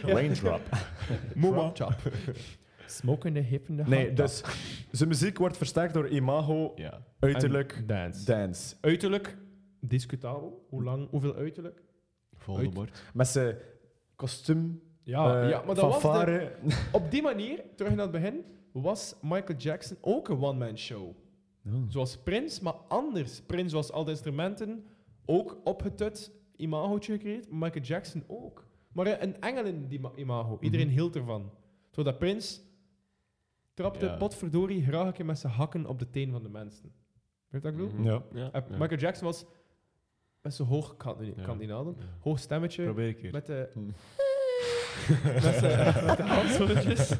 Speaker 1: your-
Speaker 3: Raindrop.
Speaker 1: Mama. Smoking the hip in the
Speaker 3: Nee,
Speaker 1: hot
Speaker 3: dus zijn muziek wordt versterkt door imago,
Speaker 2: Ja.
Speaker 1: tub.
Speaker 3: uiterlijk,
Speaker 1: En dance.
Speaker 3: dance.
Speaker 1: Uiterlijk, discutabel. Hoe lang, hoeveel uiterlijk?
Speaker 2: Voldemort.
Speaker 3: Met zijn kostuum,
Speaker 1: Ja,
Speaker 3: eh,
Speaker 1: Ah, ja maar dat was de-
Speaker 3: fanfare.
Speaker 1: op die manier, terug naar het begin, was Michael Jackson ook een one-man show.
Speaker 3: Oh.
Speaker 1: Zoals Prince, maar anders. Prince was al de instrumenten ook opgetut, imagootje gecreëerd. maar Michael Jackson ook. Maar eh, een engel in die ma-
Speaker 2: Mhm.
Speaker 1: imago. Iedereen hield ervan. Zodat Prince trapte,
Speaker 2: Ja.
Speaker 1: potverdorie, graag een keer met zijn hakken op de teen van de mensen. Weet je wat ik bedoel?
Speaker 2: Mhm.
Speaker 3: Ja.
Speaker 2: Ja.
Speaker 1: Eh,
Speaker 2: ja.
Speaker 1: Michael Jackson was met zijn hoog, kan het niet,
Speaker 2: Ja.
Speaker 1: kan het niet nadoen,
Speaker 2: Ja.
Speaker 1: hoog stemmetje.
Speaker 2: Probeer een keer.
Speaker 1: Met de...
Speaker 3: Hmm.
Speaker 1: met z'n- met de handzoentjes.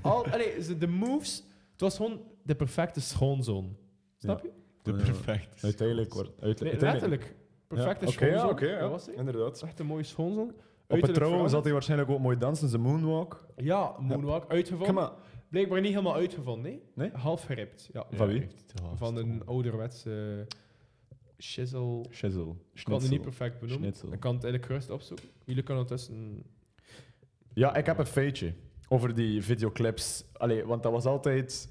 Speaker 1: Al, allee, ze- de moves. Het was gewoon de perfecte schoonzoon. Snap je?
Speaker 2: De
Speaker 3: Ja.
Speaker 2: perfecte.
Speaker 3: Uiteindelijk wordt... uite-
Speaker 1: Nee,
Speaker 3: uiteindelijk-
Speaker 1: letterlijk. Perfecte
Speaker 3: ja.
Speaker 1: schoonzoon.
Speaker 3: Oké, ja, oké, ja.
Speaker 1: Dat was hij.
Speaker 3: inderdaad.
Speaker 1: Echt een mooie schoonzoon.
Speaker 3: Op het
Speaker 1: Uiterlijk
Speaker 3: trouw
Speaker 1: veranderd.
Speaker 3: zat hij waarschijnlijk ook mooi dansen, zijn moonwalk.
Speaker 1: Ja, moonwalk. Uitgevonden.
Speaker 3: Come on.
Speaker 1: Blijkbaar niet helemaal uitgevonden, nee?
Speaker 3: Nee?
Speaker 1: Half geript, ja.
Speaker 3: Van wie?
Speaker 1: Van een ouderwetse eh, shizzle. Ik
Speaker 3: Shizzle.
Speaker 1: kan het niet
Speaker 3: Schnitzel.
Speaker 1: perfect benoemen.
Speaker 3: Schnitzel.
Speaker 1: Ik kan het eigenlijk gerust opzoeken. Jullie kunnen ondertussen...
Speaker 3: Ja, ik heb een feitje over die videoclips. Allee, want dat was altijd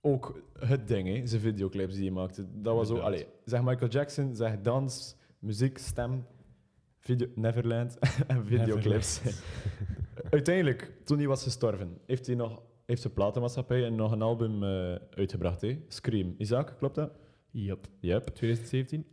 Speaker 3: ook het ding, hè, zijn videoclips die je maakte. Dat was ook,
Speaker 2: Inderdaad.
Speaker 3: allee, zeg Michael Jackson, zeg dans, muziek, stem, video, Neverland en videoclips. Uiteindelijk, toen hij was gestorven, heeft hij nog heeft zijn platenmaatschappij en nog een album eh, uitgebracht, hè? Scream. Isaac, klopt dat?
Speaker 1: Yep.
Speaker 3: Yep.
Speaker 1: 2017.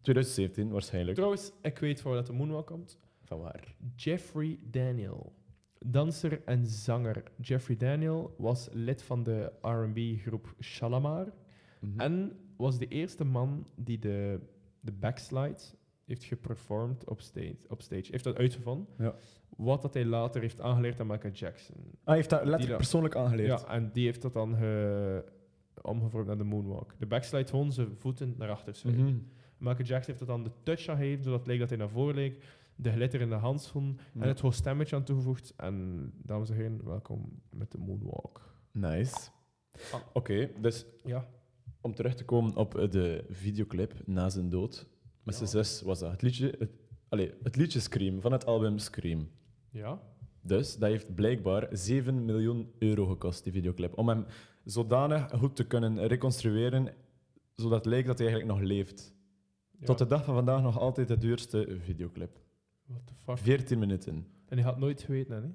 Speaker 3: 2017 waarschijnlijk.
Speaker 1: Trouwens, ik weet waar dat de moonwalk komt.
Speaker 3: Van waar?
Speaker 1: Jeffrey Daniel. Danser en zanger Jeffrey Daniel was lid van de R&B-groep Shalamar.
Speaker 3: Mhm.
Speaker 1: En was de eerste man die de, de backslide heeft geperformed op stage. Op stage. Heeft dat uitgevonden.
Speaker 3: Ja.
Speaker 1: Wat dat hij later heeft aangeleerd aan Michael Jackson.
Speaker 3: Hij heeft dat letterlijk
Speaker 1: Die dat-
Speaker 3: persoonlijk aangeleerd.
Speaker 1: Ja, en die heeft dat dan ge- omgevormd naar de moonwalk. De backslide gewoon zijn voeten naar achter. schuiven.
Speaker 3: Mhm.
Speaker 1: Michael Jackson heeft dat dan de touch aan gegeven, zodat het leek dat hij naar voren leek. De glitter in de handschoen en het hoog stemmetje aan toegevoegd. En dames en heren, welkom met de moonwalk.
Speaker 3: Nice.
Speaker 1: Ah.
Speaker 3: Oké, dus
Speaker 1: Ja.
Speaker 3: om terug te komen op eh, de videoclip na zijn dood. Met zijn zus was dat. Het liedje, het, allee, het liedje Scream van het album Scream.
Speaker 1: Ja?
Speaker 3: Dus dat heeft blijkbaar 7 miljoen euro gekost, die videoclip. Om hem zodanig goed te kunnen reconstrueren, zodat het leek dat hij eigenlijk nog leeft.
Speaker 1: Ja.
Speaker 3: Tot de dag van vandaag nog altijd de duurste videoclip.
Speaker 1: What the fuck?
Speaker 3: 14 minuten.
Speaker 1: En hij had nooit geweten, hè? nee?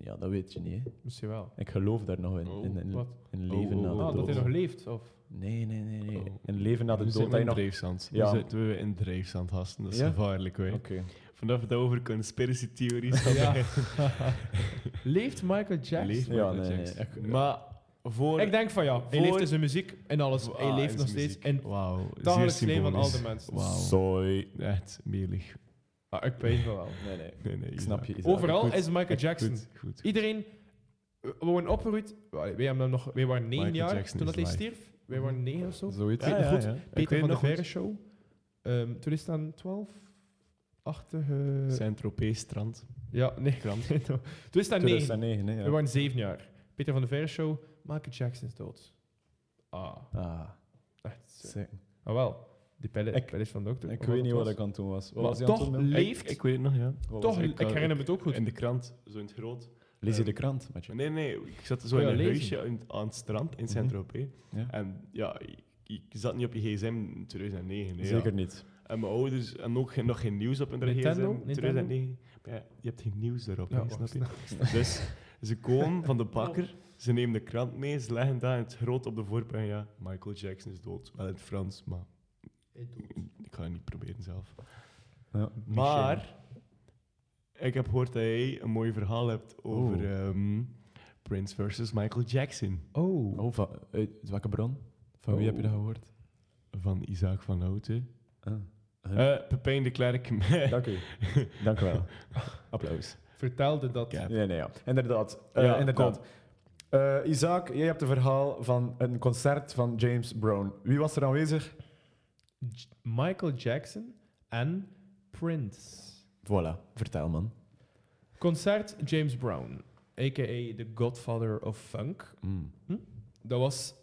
Speaker 3: Ja, dat weet je niet. Hè.
Speaker 1: Misschien wel.
Speaker 3: Ik geloof daar nog in.
Speaker 2: Oh,
Speaker 3: in, in,
Speaker 1: Wat?
Speaker 3: in leven
Speaker 2: Oh, oh,
Speaker 3: na de
Speaker 2: oh,
Speaker 1: Ah, dat
Speaker 3: dood.
Speaker 1: hij nog leeft, of...
Speaker 3: Nee, nee, nee. nee.
Speaker 2: Oh.
Speaker 3: In leven na de
Speaker 2: We
Speaker 3: dood.
Speaker 2: zitten
Speaker 3: dat je
Speaker 2: in
Speaker 3: nog...
Speaker 2: drijfzand.
Speaker 3: Ja.
Speaker 2: We zitten we in drijfzand, gasten. Dat is
Speaker 3: Ja?
Speaker 2: gevaarlijk, hoor.
Speaker 3: Oké.
Speaker 2: Vanaf het over conspiracy theories.
Speaker 1: Ja. leeft Michael Jackson?
Speaker 2: Leeft
Speaker 3: Ja,
Speaker 2: Michael
Speaker 3: nee, nee.
Speaker 2: Jackson.
Speaker 3: Ik-
Speaker 2: Maar voor...
Speaker 1: Ik denk van ja. Hij
Speaker 2: Voor-
Speaker 1: leeft in zijn muziek en alles.
Speaker 2: Ah,
Speaker 1: hij leeft
Speaker 2: in
Speaker 1: nog
Speaker 2: zijn
Speaker 1: steeds
Speaker 2: muziek.
Speaker 1: in het
Speaker 2: Wauw, zeer
Speaker 1: dagelijks leven van al
Speaker 2: symbolisch.
Speaker 1: de mensen.
Speaker 2: Wauw.
Speaker 3: Sorry.
Speaker 2: Echt melig.
Speaker 1: Ah, ik weet van wel.
Speaker 3: Nee, nee.
Speaker 2: Nee, nee,
Speaker 3: Ik snap je. Isaac.
Speaker 1: Overal
Speaker 2: goed.
Speaker 1: is Michael Jackson.
Speaker 2: Goed, goed.
Speaker 1: Iedereen, we worden opgeroeid. Wij, hebben hem nog, wij waren negen
Speaker 2: Michael
Speaker 1: jaar
Speaker 2: Jackson
Speaker 1: toen dat
Speaker 2: is
Speaker 1: hij
Speaker 2: live.
Speaker 1: stierf. Wij waren negen of zo.
Speaker 3: Zoiets.
Speaker 1: Ja, ja,
Speaker 3: goed.
Speaker 1: ja.
Speaker 2: Ik weet
Speaker 1: Peter van de
Speaker 2: nog goed.
Speaker 1: Verre Show. Ehm 2012? Achtige...
Speaker 2: Saint-Tropez strand.
Speaker 1: eh, Ja, nee.
Speaker 2: Krant.
Speaker 1: 2009.
Speaker 3: 2009, hè,
Speaker 1: We
Speaker 3: ja.
Speaker 1: waren zeven jaar. Peter van de Verre Show. Michael Jackson is dood. Ah,
Speaker 3: Ah,
Speaker 1: echt. zo.
Speaker 3: sick.
Speaker 1: Ah wel, die pallet,
Speaker 3: Ik-
Speaker 1: pallet van dokter. Oh,
Speaker 3: Ik weet niet wat ik aan toen was.
Speaker 1: Maar
Speaker 3: Wat was je
Speaker 1: toch
Speaker 3: aan
Speaker 1: le-
Speaker 3: toen? Lees
Speaker 1: Leeft.
Speaker 2: Ik, ik weet het nog, ja.
Speaker 1: Toch,
Speaker 2: Ik
Speaker 1: ik,
Speaker 2: kan-
Speaker 1: herinner me het ook goed.
Speaker 2: In de krant, zo in het groot.
Speaker 3: Lees je de krant, Matje?
Speaker 2: Nee, nee, ik zat zo
Speaker 1: Oh ja,
Speaker 2: in een
Speaker 1: lezen.
Speaker 2: huisje in- aan het strand in
Speaker 3: Mhm.
Speaker 2: Saint-Tropez.
Speaker 3: Ja.
Speaker 2: En ja, ik, ik zat niet op je gsm in 2009. nee, ja.
Speaker 3: Zeker niet.
Speaker 2: En mijn ouders en ook geen- nog geen nieuws op hun
Speaker 1: Nintendo?
Speaker 2: gsm in
Speaker 1: Nintendo?
Speaker 2: 2009. Maar ja, je hebt geen nieuws erop,
Speaker 1: Ja,
Speaker 2: hè,
Speaker 1: wacht,
Speaker 2: snap je? Dus ze komen van de bakker, ze nemen de krant mee, ze leggen daar het groot op de voorpagina. Ja, Michael Jackson is dood. Wel in het Frans, maar ik ga het niet proberen zelf.
Speaker 3: Ja.
Speaker 2: Maar ik heb gehoord dat jij een mooi verhaal hebt over
Speaker 3: Oh.
Speaker 2: ehm, Prince versus Michael Jackson
Speaker 1: Oh.
Speaker 3: Oh, van, uit welke bron? Van wie
Speaker 2: Oh.
Speaker 3: heb je dat gehoord?
Speaker 2: van Isaac van Houten.
Speaker 3: Ah.
Speaker 2: Eh Pepijn de Klerk.
Speaker 3: Dank u. Dank u wel. Applaus.
Speaker 1: Vertelde dat.
Speaker 2: Ja.
Speaker 3: Nee, nee, ja. Inderdaad. Eh,
Speaker 2: Ja,
Speaker 3: inderdaad. Eh, Isaac, jij hebt een verhaal van een concert van James Brown. Wie was er aanwezig?
Speaker 1: J- Michael Jackson en Prince.
Speaker 3: Voilà, vertel man.
Speaker 1: Concert James Brown, a.k.a. The Godfather of Funk.
Speaker 3: Mm.
Speaker 1: Dat was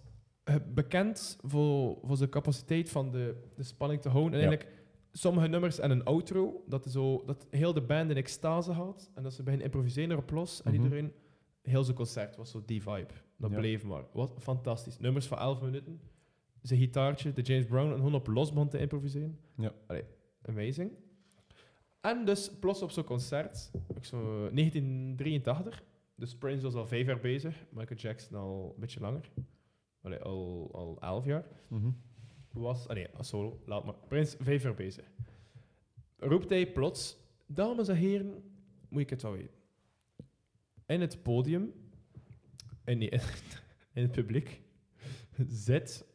Speaker 1: eh, bekend voor, voor zijn capaciteit van de, de spanning te houden. En
Speaker 3: Ja.
Speaker 1: eigenlijk sommige nummers en een outro, dat, zo, dat heel de band in extase had. En dat ze beginnen improviseren erop los. En
Speaker 3: Mhm.
Speaker 1: iedereen, heel zijn concert was zo die vibe. Dat
Speaker 3: Ja.
Speaker 1: bleef maar. Wat fantastisch. Nummers van 11 minuten. Zijn gitaartje, de James Brown, en gewoon op los begon te improviseren.
Speaker 3: Ja.
Speaker 1: Allee, amazing. En dus plots op zo'n concert, ook zo 1983, dus Prince was al vijf jaar bezig, Michael Jackson al een beetje langer, Allee, al, al elf jaar,
Speaker 3: Mhm.
Speaker 1: was, ah nee, als solo, laat maar, Prince vijf jaar bezig. Roept hij plots, dames en heren, moet ik het wel weten. In het podium, in, die- in het publiek, zit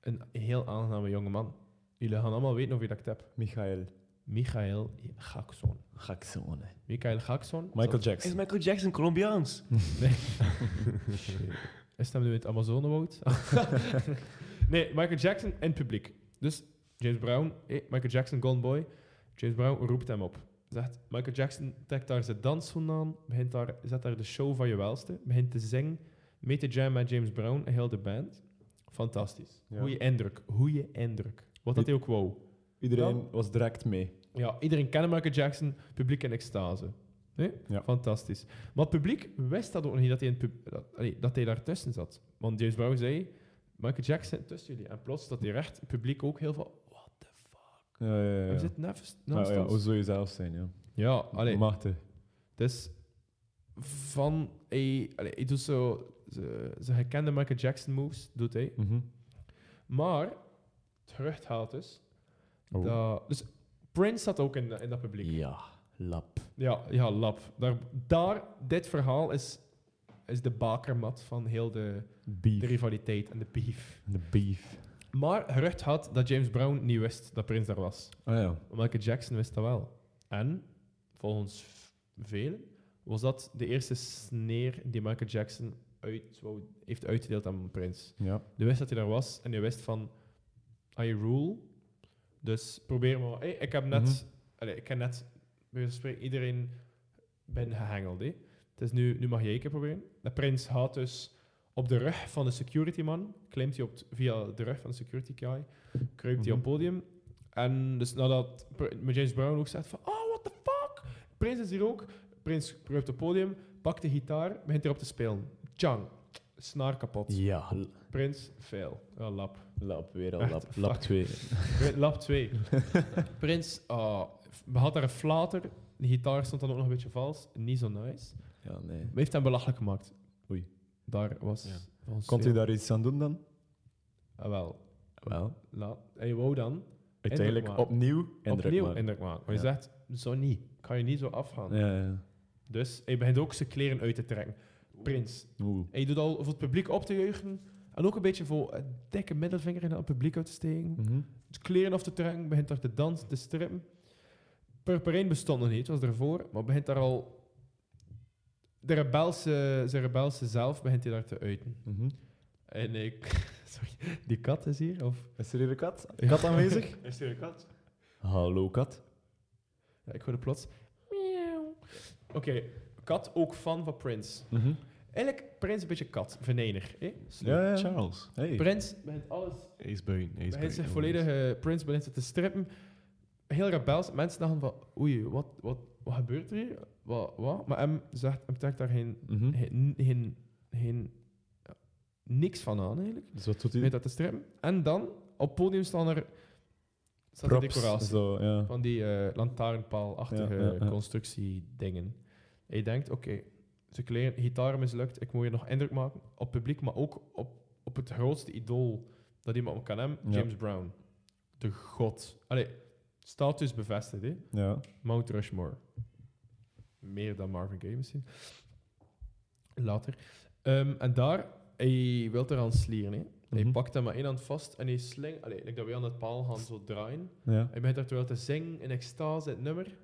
Speaker 1: een heel aangename jongeman. Jullie gaan allemaal weten of je dat ik het heb.
Speaker 3: Michael
Speaker 1: Michael Jackson.
Speaker 3: Jackson.
Speaker 1: Michael Jackson.
Speaker 3: Michael
Speaker 2: Is
Speaker 3: Jackson.
Speaker 2: Michael Jackson Colombiaans?
Speaker 1: Is hem nu in het Amazonewoud? Nee, Michael Jackson en publiek. Dus James Brown, eh, Michael Jackson, Gone Boy. James Brown roept hem op. Zegt, Michael Jackson trekt daar zijn dansschoen aan, begint daar, zet daar de show van je welste, begint te zingen, mee te jammen met James Brown en heel de band. Fantastisch.
Speaker 3: Ja.
Speaker 1: Goeie indruk, goeie indruk. Wat dat hij ook wou.
Speaker 3: Iedereen
Speaker 1: Ja.
Speaker 3: was direct mee.
Speaker 1: Ja, iedereen kent Michael Jackson, publiek in extase. Nee?
Speaker 3: Ja.
Speaker 1: Fantastisch. Maar het publiek wist dat ook niet, dat hij, in het pub- dat, allee, dat hij daartussen zat. Want James Brown zei, Michael Jackson tussen jullie. En plots dat hij recht, het publiek ook heel veel... What the fuck?
Speaker 3: Ja, ja, ja.
Speaker 1: We
Speaker 3: ja.
Speaker 1: zitten even
Speaker 3: Maar
Speaker 1: naast
Speaker 3: Ah, ja,
Speaker 1: ons.
Speaker 3: hoe zou je zelf zijn, ja.
Speaker 1: Ja, Nou, allee.
Speaker 3: Machtig.
Speaker 1: Het is van... Hij, allee, hij doet zo... Ze, ze herkende Michael Jackson moves, doet hij.
Speaker 3: Mhm.
Speaker 1: Maar, het gerucht haalt dus...
Speaker 3: Oh.
Speaker 1: Dat, dus Prince zat ook in, in dat publiek.
Speaker 3: Ja, lap.
Speaker 1: Ja, ja lap. Daar, daar, dit verhaal is, is de bakermat van heel de,
Speaker 3: Beef.
Speaker 1: de rivaliteit en de beef.
Speaker 3: De beef.
Speaker 1: Maar gerucht had dat James Brown niet wist dat Prince daar was.
Speaker 3: Ah ja.
Speaker 1: Maar Michael Jackson wist dat wel. En, volgens v- velen, was dat de eerste sneer die Michael Jackson uit, wou- heeft uitgedeeld aan Prince.
Speaker 3: Ja.
Speaker 1: Hij wist dat hij daar was en hij wist van, I rule. Dus probeer maar. Hey, ik heb net,
Speaker 3: Mhm.
Speaker 1: allee, ik heb net, bij wijze van spreken, iedereen ben gehengeld. hè. Het is nu, nu mag jij een keer proberen. De prins haalt dus op de rug van de security man, klimt hij op het- via de rug van de security guy, kruipt hij op
Speaker 3: Mhm.
Speaker 1: het podium. En dus nadat Pr- James Brown ook zegt van, oh, what the fuck? Prins is hier ook. Prins kruipt op het podium, pakt de gitaar, begint erop te spelen. Chang, snaar kapot.
Speaker 3: Ja,
Speaker 1: Prins, fail. Ja, lap.
Speaker 3: lap. Weer al
Speaker 1: Echt,
Speaker 3: lap.
Speaker 1: fuck.
Speaker 3: Lap 2.
Speaker 1: Prins- Lap 2. Prins, ah, we had daar een flater. De gitaar stond dan ook nog een beetje vals. Niet zo nice. Maar
Speaker 3: Ja, nee.
Speaker 1: heeft hem belachelijk gemaakt.
Speaker 3: Oei.
Speaker 1: Daar was...
Speaker 2: Ja.
Speaker 1: ons
Speaker 3: Komt u daar iets aan doen dan?
Speaker 1: Ah, wel.
Speaker 3: Wel.
Speaker 1: La, hij wou dan
Speaker 3: Uiteindelijk
Speaker 1: maken.
Speaker 3: opnieuw indruk
Speaker 1: opnieuw
Speaker 3: maken.
Speaker 1: indruk maken. Maar je
Speaker 3: Ja.
Speaker 1: zegt, zo niet. Kan je niet zo afgaan.
Speaker 3: Ja, ja.
Speaker 1: Dus hij begint ook zijn kleren uit te trekken. Prins.
Speaker 3: Oeh.
Speaker 1: Hij doet al voor het publiek op te juichen. En ook een beetje voor een dikke middelvinger in het publiek uit te steken.
Speaker 3: Mhm.
Speaker 1: de kleren af te trekken, begint daar te dansen, te strippen. Purple Rain bestond nog niet, het was ervoor, maar begint daar al... De rebelse, zijn rebelse zelf begint hij daar te uiten.
Speaker 3: Mhm.
Speaker 1: En ik... Sorry, die kat is hier, of...
Speaker 3: Is er hier een kat? Een kat aanwezig?
Speaker 4: Is er een kat?
Speaker 3: Hallo, kat.
Speaker 1: Ja, ik hoorde plots... Miauw. Oké, kat ook fan van Prince.
Speaker 3: Mhm.
Speaker 1: Eigenlijk, Prince een beetje kat, venijnig. hè?
Speaker 3: Ja, ja.
Speaker 2: Charles.
Speaker 3: Hey.
Speaker 1: Prince begint alles
Speaker 2: Hij is buiten. Hij is
Speaker 1: Hij
Speaker 2: buiten.
Speaker 1: zich volledig, eh, Prince begint zich te strippen. Heel rebels. Mensen dachten van, oei, wat, wat, wat gebeurt er hier? Wat, wat? Maar hem zegt, hem trekt daar geen,
Speaker 3: Mhm.
Speaker 1: geen, geen, geen- ja, niks van aan eigenlijk.
Speaker 3: Dus wat doet hij?
Speaker 1: Met dat te strippen. En dan, op het podium staan er staat de
Speaker 3: Props,
Speaker 1: decoratie.
Speaker 3: Zo, ja.
Speaker 1: Van die eh lantaarnpaalachtige
Speaker 3: Ja, ja, ja.
Speaker 1: constructiedingen. Hij denkt, oké, ze kleren, gitaar mislukt, ik moet hier nog indruk maken op het publiek, maar ook op, op het grootste idool dat iemand kan hebben,
Speaker 3: Ja.
Speaker 1: James Brown. De god. Allee, status bevestigd, hè.
Speaker 3: ja.
Speaker 1: Mount Rushmore. Meer dan Marvin Gaye misschien. Later. Ehm, en daar, hij wil eraan slieren, hè. Hij
Speaker 3: Mhm.
Speaker 1: pakt hem maar één hand vast en hij slingt... Allee, like dat we aan het paal gaan zo draaien.
Speaker 3: ja.
Speaker 1: Hij begint daar terwijl te zingen in extase, het nummer.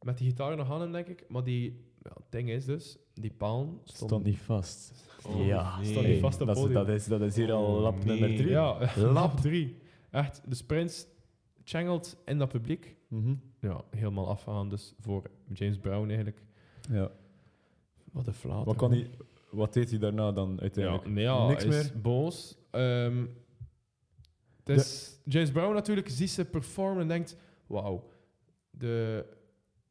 Speaker 1: Met die gitaar nog aan hem, denk ik. Maar die, ja, het ding is dus, die paal stond,
Speaker 3: Stond niet vast.
Speaker 2: Oh,
Speaker 3: ja,
Speaker 2: nee.
Speaker 1: stond niet vast op
Speaker 3: dat, is,
Speaker 1: podium.
Speaker 3: dat, is, dat is hier al
Speaker 2: Oh,
Speaker 3: lap
Speaker 2: nee.
Speaker 3: nummer drie.
Speaker 1: Ja,
Speaker 3: Lap.
Speaker 1: lap 3. Echt, dus Prins channelt in dat publiek.
Speaker 3: Mhm.
Speaker 1: Ja, helemaal afgaan dus voor James Brown eigenlijk.
Speaker 3: ja.
Speaker 1: Wat een flauw.
Speaker 3: Wat, kan hij, wat deed hij daarna dan
Speaker 1: Ja,
Speaker 3: uiteindelijk?
Speaker 1: nee, ja,
Speaker 3: Niks
Speaker 1: Niks is
Speaker 3: meer?
Speaker 1: boos. Ehm, het is James Brown natuurlijk ziet ze performen en denkt... Wauw, de...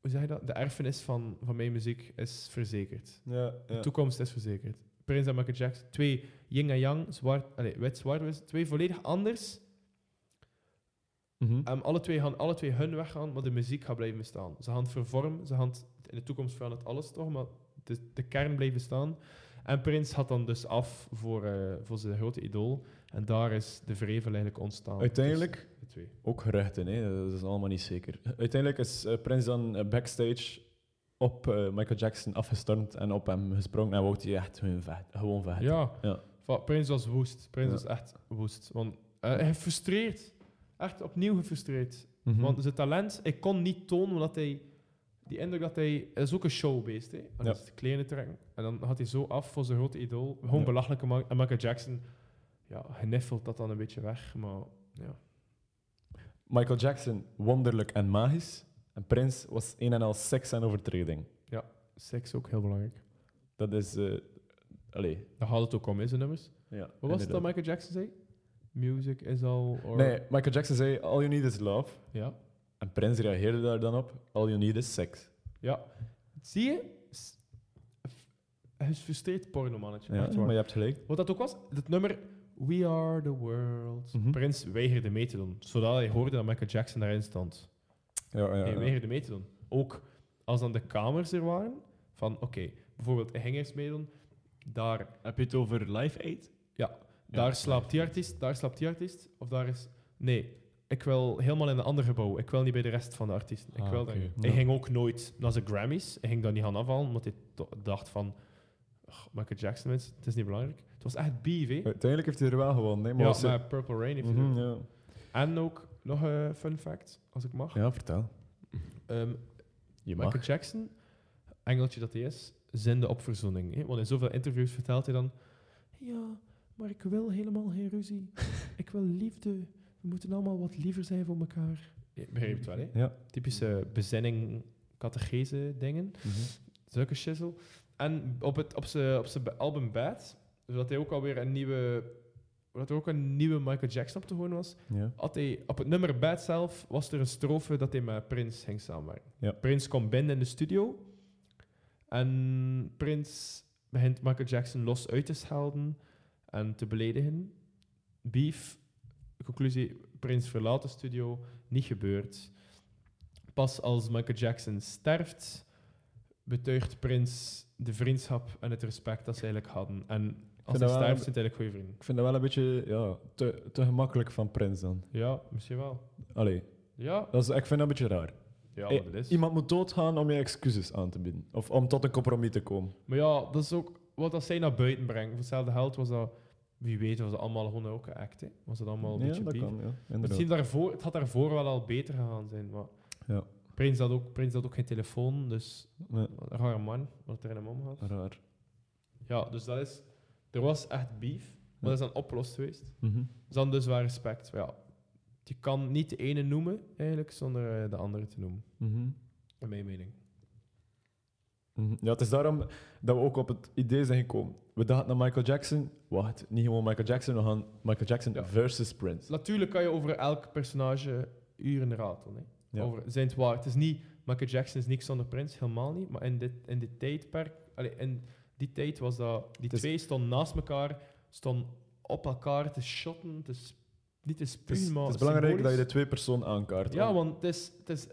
Speaker 1: Hoe zeg je dat? De erfenis van, van mijn muziek is verzekerd.
Speaker 3: Ja,
Speaker 1: De toekomst is verzekerd. Prince en Michael Jackson, twee yin en yang, zwart, allee, wit, zwart, wit, twee volledig anders.
Speaker 3: Mhm.
Speaker 1: En alle twee gaan alle twee hun weg gaan, maar de muziek gaat blijven bestaan. Ze gaan het vervormen, ze gaan het- in de toekomst verandert alles toch, maar de, de kern blijft bestaan. En Prince had dan dus af voor, eh, voor zijn grote idool. En daar is de vrevel eigenlijk ontstaan.
Speaker 3: Uiteindelijk
Speaker 1: tussen De twee.
Speaker 3: Ook geruchten, hè? dat is allemaal niet zeker. Uiteindelijk is eh, Prins dan eh, backstage op eh, Michael Jackson afgestormd en op hem gesprongen en wou hij echt gewoon vecht- gewoon vechten.
Speaker 1: Ja.
Speaker 3: Ja.
Speaker 1: Va- Prins was woest. Prins
Speaker 3: Ja.
Speaker 1: was echt woest. Want eh, hij frustreert. Echt opnieuw gefrustreerd.
Speaker 3: Mhm.
Speaker 1: Want zijn talent, ik kon niet tonen omdat hij. Die indruk dat hij. Hij is ook een showbeest, hè? En
Speaker 3: Ja.
Speaker 1: is de kleine trekken. En dan had hij zo af voor zijn grote idool. Gewoon
Speaker 3: Ja.
Speaker 1: belachelijk gemaakt. En Michael Jackson ja, geniffelt dat dan een beetje weg. Maar ja.
Speaker 3: Michael Jackson, wonderlijk en magisch. En Prince was een en al seks en overtreding.
Speaker 1: seks ook heel belangrijk.
Speaker 3: Dat is... eh allee.
Speaker 1: Daar gaat het ook om, hè, zijn nummers.
Speaker 3: Ja,
Speaker 1: Wat was het
Speaker 3: inderdaad.
Speaker 1: dat Michael Jackson zei? Music is all... Or...
Speaker 3: Nee, Michael Jackson zei, all you need is love.
Speaker 1: Ja.
Speaker 3: En Prince reageerde daar dan op, all you need is seks.
Speaker 1: ja. Zie je? S- f- Hij is frustreerd pornomannetje.
Speaker 3: Ja,
Speaker 1: echt waar.
Speaker 3: maar je hebt gelijk.
Speaker 1: Wat dat ook was, het nummer We Are The World.
Speaker 3: Mhm.
Speaker 1: Prins weigerde mee te doen, zodat hij hoorde dat Michael Jackson daarin stond.
Speaker 3: Ja, ja,
Speaker 1: Hij
Speaker 3: ja.
Speaker 1: weigerde mee te doen. Ook als dan de kamers er waren, van oké, bijvoorbeeld hij ging eerst meedoen, daar,
Speaker 2: Heb je het over Live Aid?
Speaker 1: daar slaapt die artiest, daar slaapt die artiest, of daar is... Nee, ik wil helemaal in een ander gebouw. Ik wil niet bij de rest van de artiesten. Ik
Speaker 2: Ah,
Speaker 1: wil
Speaker 2: oké.
Speaker 1: daar-
Speaker 3: Ja.
Speaker 1: Hij ging ook nooit naar zijn Grammys. Hij ging dat niet gaan afhalen, omdat hij to- dacht van... "Ugh, Michael Jackson, mensen, het is niet belangrijk. Het was echt BV.
Speaker 3: Uiteindelijk heeft hij er wel gewonnen. hè, maar
Speaker 1: Ja,
Speaker 3: was er-
Speaker 1: maar Purple Rain heeft hij
Speaker 3: Mhm,
Speaker 1: er-
Speaker 3: ja.
Speaker 1: En ook nog een fun fact, als ik mag.
Speaker 3: ja, vertel.
Speaker 1: Ehm,
Speaker 3: Je mag.
Speaker 1: Michael Jackson, engeltje dat hij is, zinde op verzoening. Hè? Want in zoveel interviews vertelt hij dan... Ja, maar ik wil helemaal geen ruzie. ik wil liefde. We moeten allemaal wat liever zijn voor elkaar. Je begrijpt wel, hè?
Speaker 3: Ja.
Speaker 1: Typische bezinning, catechese dingen.
Speaker 3: Mhm.
Speaker 1: Zulke shizzle. En op, het, op zijn op zijn album Bad, zodat hij ook alweer een nieuwe... Dat er ook een nieuwe Michael Jackson op te horen was,
Speaker 3: Ja.
Speaker 1: had hij, op het nummer Bad zelf was er een strofe dat hij met Prins ging samenwerken.
Speaker 3: Ja.
Speaker 1: Prins komt binnen in de studio en Prins begint Michael Jackson los uit te schelden en te beledigen. Beef, conclusie, Prins verlaat de studio, niet gebeurd. Pas als Michael Jackson sterft, betuigt Prins de vriendschap en het respect dat ze eigenlijk hadden. En als
Speaker 3: vind
Speaker 1: hij
Speaker 3: dat wel-
Speaker 1: sterft, zijn het eigenlijk goede vrienden.
Speaker 3: Ik vind dat wel een beetje ja, te, te gemakkelijk van Prins dan.
Speaker 1: Ja, misschien wel.
Speaker 3: Allee,
Speaker 1: Ja,
Speaker 3: dat is, ik vind dat een beetje raar.
Speaker 1: ja
Speaker 3: Eh,
Speaker 1: maar dat is.
Speaker 3: Iemand moet doodgaan om je excuses aan te bieden. Of om tot een compromis te komen.
Speaker 1: Maar ja, dat is ook wat dat zij naar buiten brengen. Voor hetzelfde geld was dat, wie weet, was dat allemaal gewoon ook een act. Hè? Was dat allemaal een
Speaker 3: ja,
Speaker 1: beetje
Speaker 3: dat
Speaker 1: beef.
Speaker 3: kan. Ja, inderdaad.
Speaker 1: Misschien daarvoor, het had daarvoor wel al beter gegaan zijn. Maar
Speaker 3: Ja.
Speaker 1: Prins, had ook, Prins had ook geen telefoon, dus
Speaker 3: Ja,
Speaker 1: een rare man, wat er in hem omgaat.
Speaker 3: raar.
Speaker 1: Ja, dus dat is, er was echt beef, maar dat is dan opgelost geweest.
Speaker 3: Mhm.
Speaker 1: Dus dan dus wel respect. Maar ja, je kan niet de ene noemen, eigenlijk, zonder eh, de andere te noemen.
Speaker 3: Mhm.
Speaker 1: In mijn mening.
Speaker 3: Mhm. Ja, het is daarom dat we ook op het idee zijn gekomen. We dachten aan Michael Jackson. Wacht, niet gewoon Michael Jackson, we gaan Michael Jackson
Speaker 1: Ja.
Speaker 3: versus Prince.
Speaker 1: Dus Natuurlijk kan je over elk personage uren ratelen. Hè.
Speaker 3: Ja.
Speaker 1: Over zijn het waar. Het is niet Michael Jackson is niks zonder Prince, helemaal niet. Maar in dit, in dit tijdperk, allee, in die tijd was dat die
Speaker 3: Het is-
Speaker 1: twee stonden naast elkaar, stonden op elkaar te shotten, te sp- niet te
Speaker 3: Het is,
Speaker 1: spuwen, maar
Speaker 3: het is belangrijk dat je de
Speaker 1: symbolisch.
Speaker 3: twee personen aankaart.
Speaker 1: Ja, want het is, het is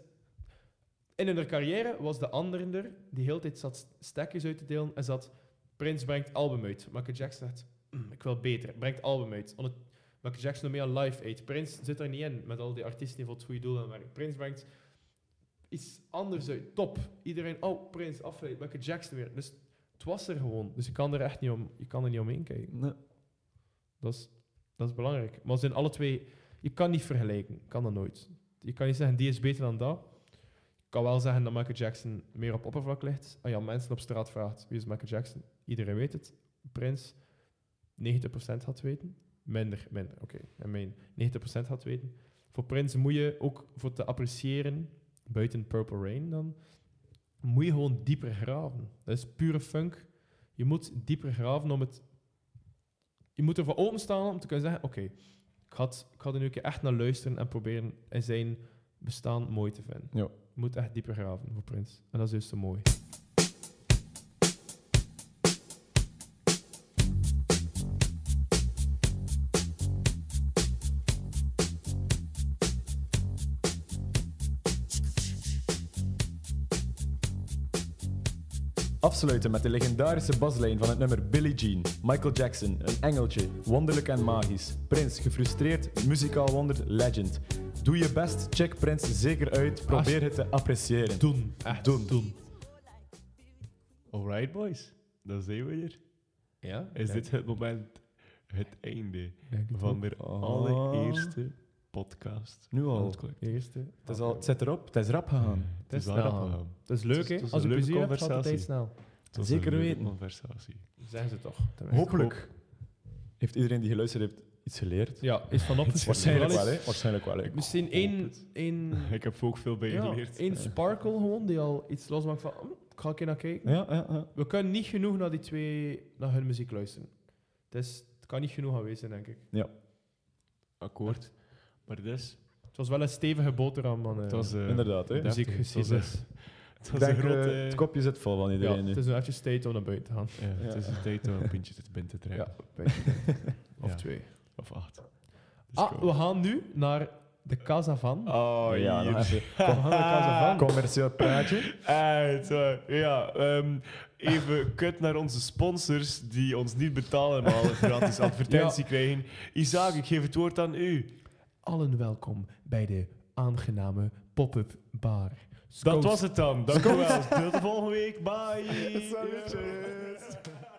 Speaker 1: in hun carrière was de andere er die heel de tijd zat stekjes uit te delen en zat Prince brengt album uit. Michael Jackson zegt, "Mm, ik wil beter, brengt album uit. Onder- Michael Jackson doet mee aan Live Aid. Prince zit er niet in met al die artiesten die voor het goede doel aan werken. Prince brengt iets anders uit, top. Iedereen, oh, Prince, afgeleid, Michael Jackson weer. Dus het was er gewoon. Dus je kan er echt niet om, je kan er niet omheen kijken.
Speaker 3: Nee.
Speaker 1: Dat is, dat is belangrijk. Maar ze zijn alle twee... Je kan niet vergelijken. Kan dat nooit. Je kan niet zeggen, die is beter dan dat. Ik kan wel zeggen dat Michael Jackson meer op oppervlak ligt. Als je aan mensen op straat vraagt, wie is Michael Jackson? Iedereen weet het. Prins, 90% had weten. Minder, minder, oké. En mijn 90% had weten. Voor Prins moet je ook, voor te appreciëren, buiten Purple Rain dan, moet je gewoon dieper graven. Dat is pure funk. Je moet dieper graven om het je moet ervoor openstaan om te kunnen zeggen: Oké, ik, ga het- ik ga er nu een keer echt naar luisteren en proberen in zijn bestaan mooi te vinden.
Speaker 3: Ja.
Speaker 1: Je moet echt dieper graven voor Prins. En dat is juist zo mooi.
Speaker 3: Afsluiten met de legendarische baslijn van het nummer Billie Jean. Michael Jackson, een engeltje, wonderlijk en magisch. Prins, gefrustreerd, muzikaal wonder, legend. Doe je best, check Prins zeker uit, probeer het te appreciëren.
Speaker 1: Doen, echt doen. doen.
Speaker 2: Alright, boys. Dan zijn we er.
Speaker 1: Ja?
Speaker 2: Is dit het moment, het einde van de
Speaker 3: Ah. Oh.
Speaker 2: allereerste podcast?
Speaker 3: Nu al.
Speaker 2: van het collect-
Speaker 1: Eerste.
Speaker 3: Het, is al, het zit erop, het Ah, is rap gegaan.
Speaker 2: Hmm. Het is
Speaker 1: snel
Speaker 2: wel rap
Speaker 1: gegaan.
Speaker 2: gegaan.
Speaker 1: Dat is
Speaker 2: Het
Speaker 1: leuk,
Speaker 2: is-
Speaker 1: hè?
Speaker 2: het is
Speaker 1: Als je
Speaker 2: een leuke
Speaker 1: plezier hebt, gaat het
Speaker 2: conversatie.
Speaker 1: altijd snel.
Speaker 2: Het was
Speaker 3: Zeker
Speaker 2: een leuke
Speaker 3: weten.
Speaker 2: conversatie.
Speaker 1: Zeggen ze toch. tenminste.
Speaker 3: Hopelijk heeft iedereen die geluisterd heeft iets geleerd?
Speaker 1: Ja, is van opgeschreven.
Speaker 3: Waarschijnlijk
Speaker 1: Wel
Speaker 3: wel,
Speaker 1: eens-
Speaker 3: hè? Waarschijnlijk wel. hè.
Speaker 1: Misschien één, één,
Speaker 2: Ik heb ook veel bij je
Speaker 1: ja,
Speaker 2: geleerd. eh,
Speaker 1: één sparkle gewoon, die al iets losmaakt van... "Hm, Ik ga een keer naar kijken.
Speaker 3: Ja, ja, ja.
Speaker 1: We kunnen niet genoeg naar die twee, naar hun muziek luisteren. Het, is, het kan niet genoeg geweest zijn, denk ik.
Speaker 2: Akkoord. Maar dus,
Speaker 1: Het was wel een stevige boterham, man.
Speaker 2: het was... eh,
Speaker 3: Inderdaad, hè.
Speaker 2: ja,
Speaker 3: Dus
Speaker 2: ik
Speaker 1: muziekgeschiedenis.
Speaker 2: het
Speaker 3: ik
Speaker 2: was een
Speaker 3: denk,
Speaker 2: grote...
Speaker 3: eh, het kopje zit vol van
Speaker 1: Ja,
Speaker 3: iedereen eh. nu.
Speaker 1: het is nu eventjes tijd om naar buiten te gaan.
Speaker 2: ja, het is een tijd om een pintje te binnen te trekken.
Speaker 1: Ja, buiten. of
Speaker 2: Ja.
Speaker 1: twee.
Speaker 2: Of acht. Dus
Speaker 1: Ah,
Speaker 2: kom.
Speaker 1: we gaan nu naar de Casa van.
Speaker 2: Oh,
Speaker 3: ja, nou,
Speaker 2: hier.
Speaker 3: nog even.
Speaker 1: We gaan naar de Casa van.
Speaker 3: Commercieel praatje.
Speaker 2: Uit, hoor. ja, ehm, even kut naar onze sponsors die ons niet betalen, maar al een gratis advertentie krijgen. Isaac, ik geef het woord aan u.
Speaker 1: Allen welkom bij de aangename pop-up bar.
Speaker 2: Dat was het dan. Dank u wel. Tot de volgende week. Bye.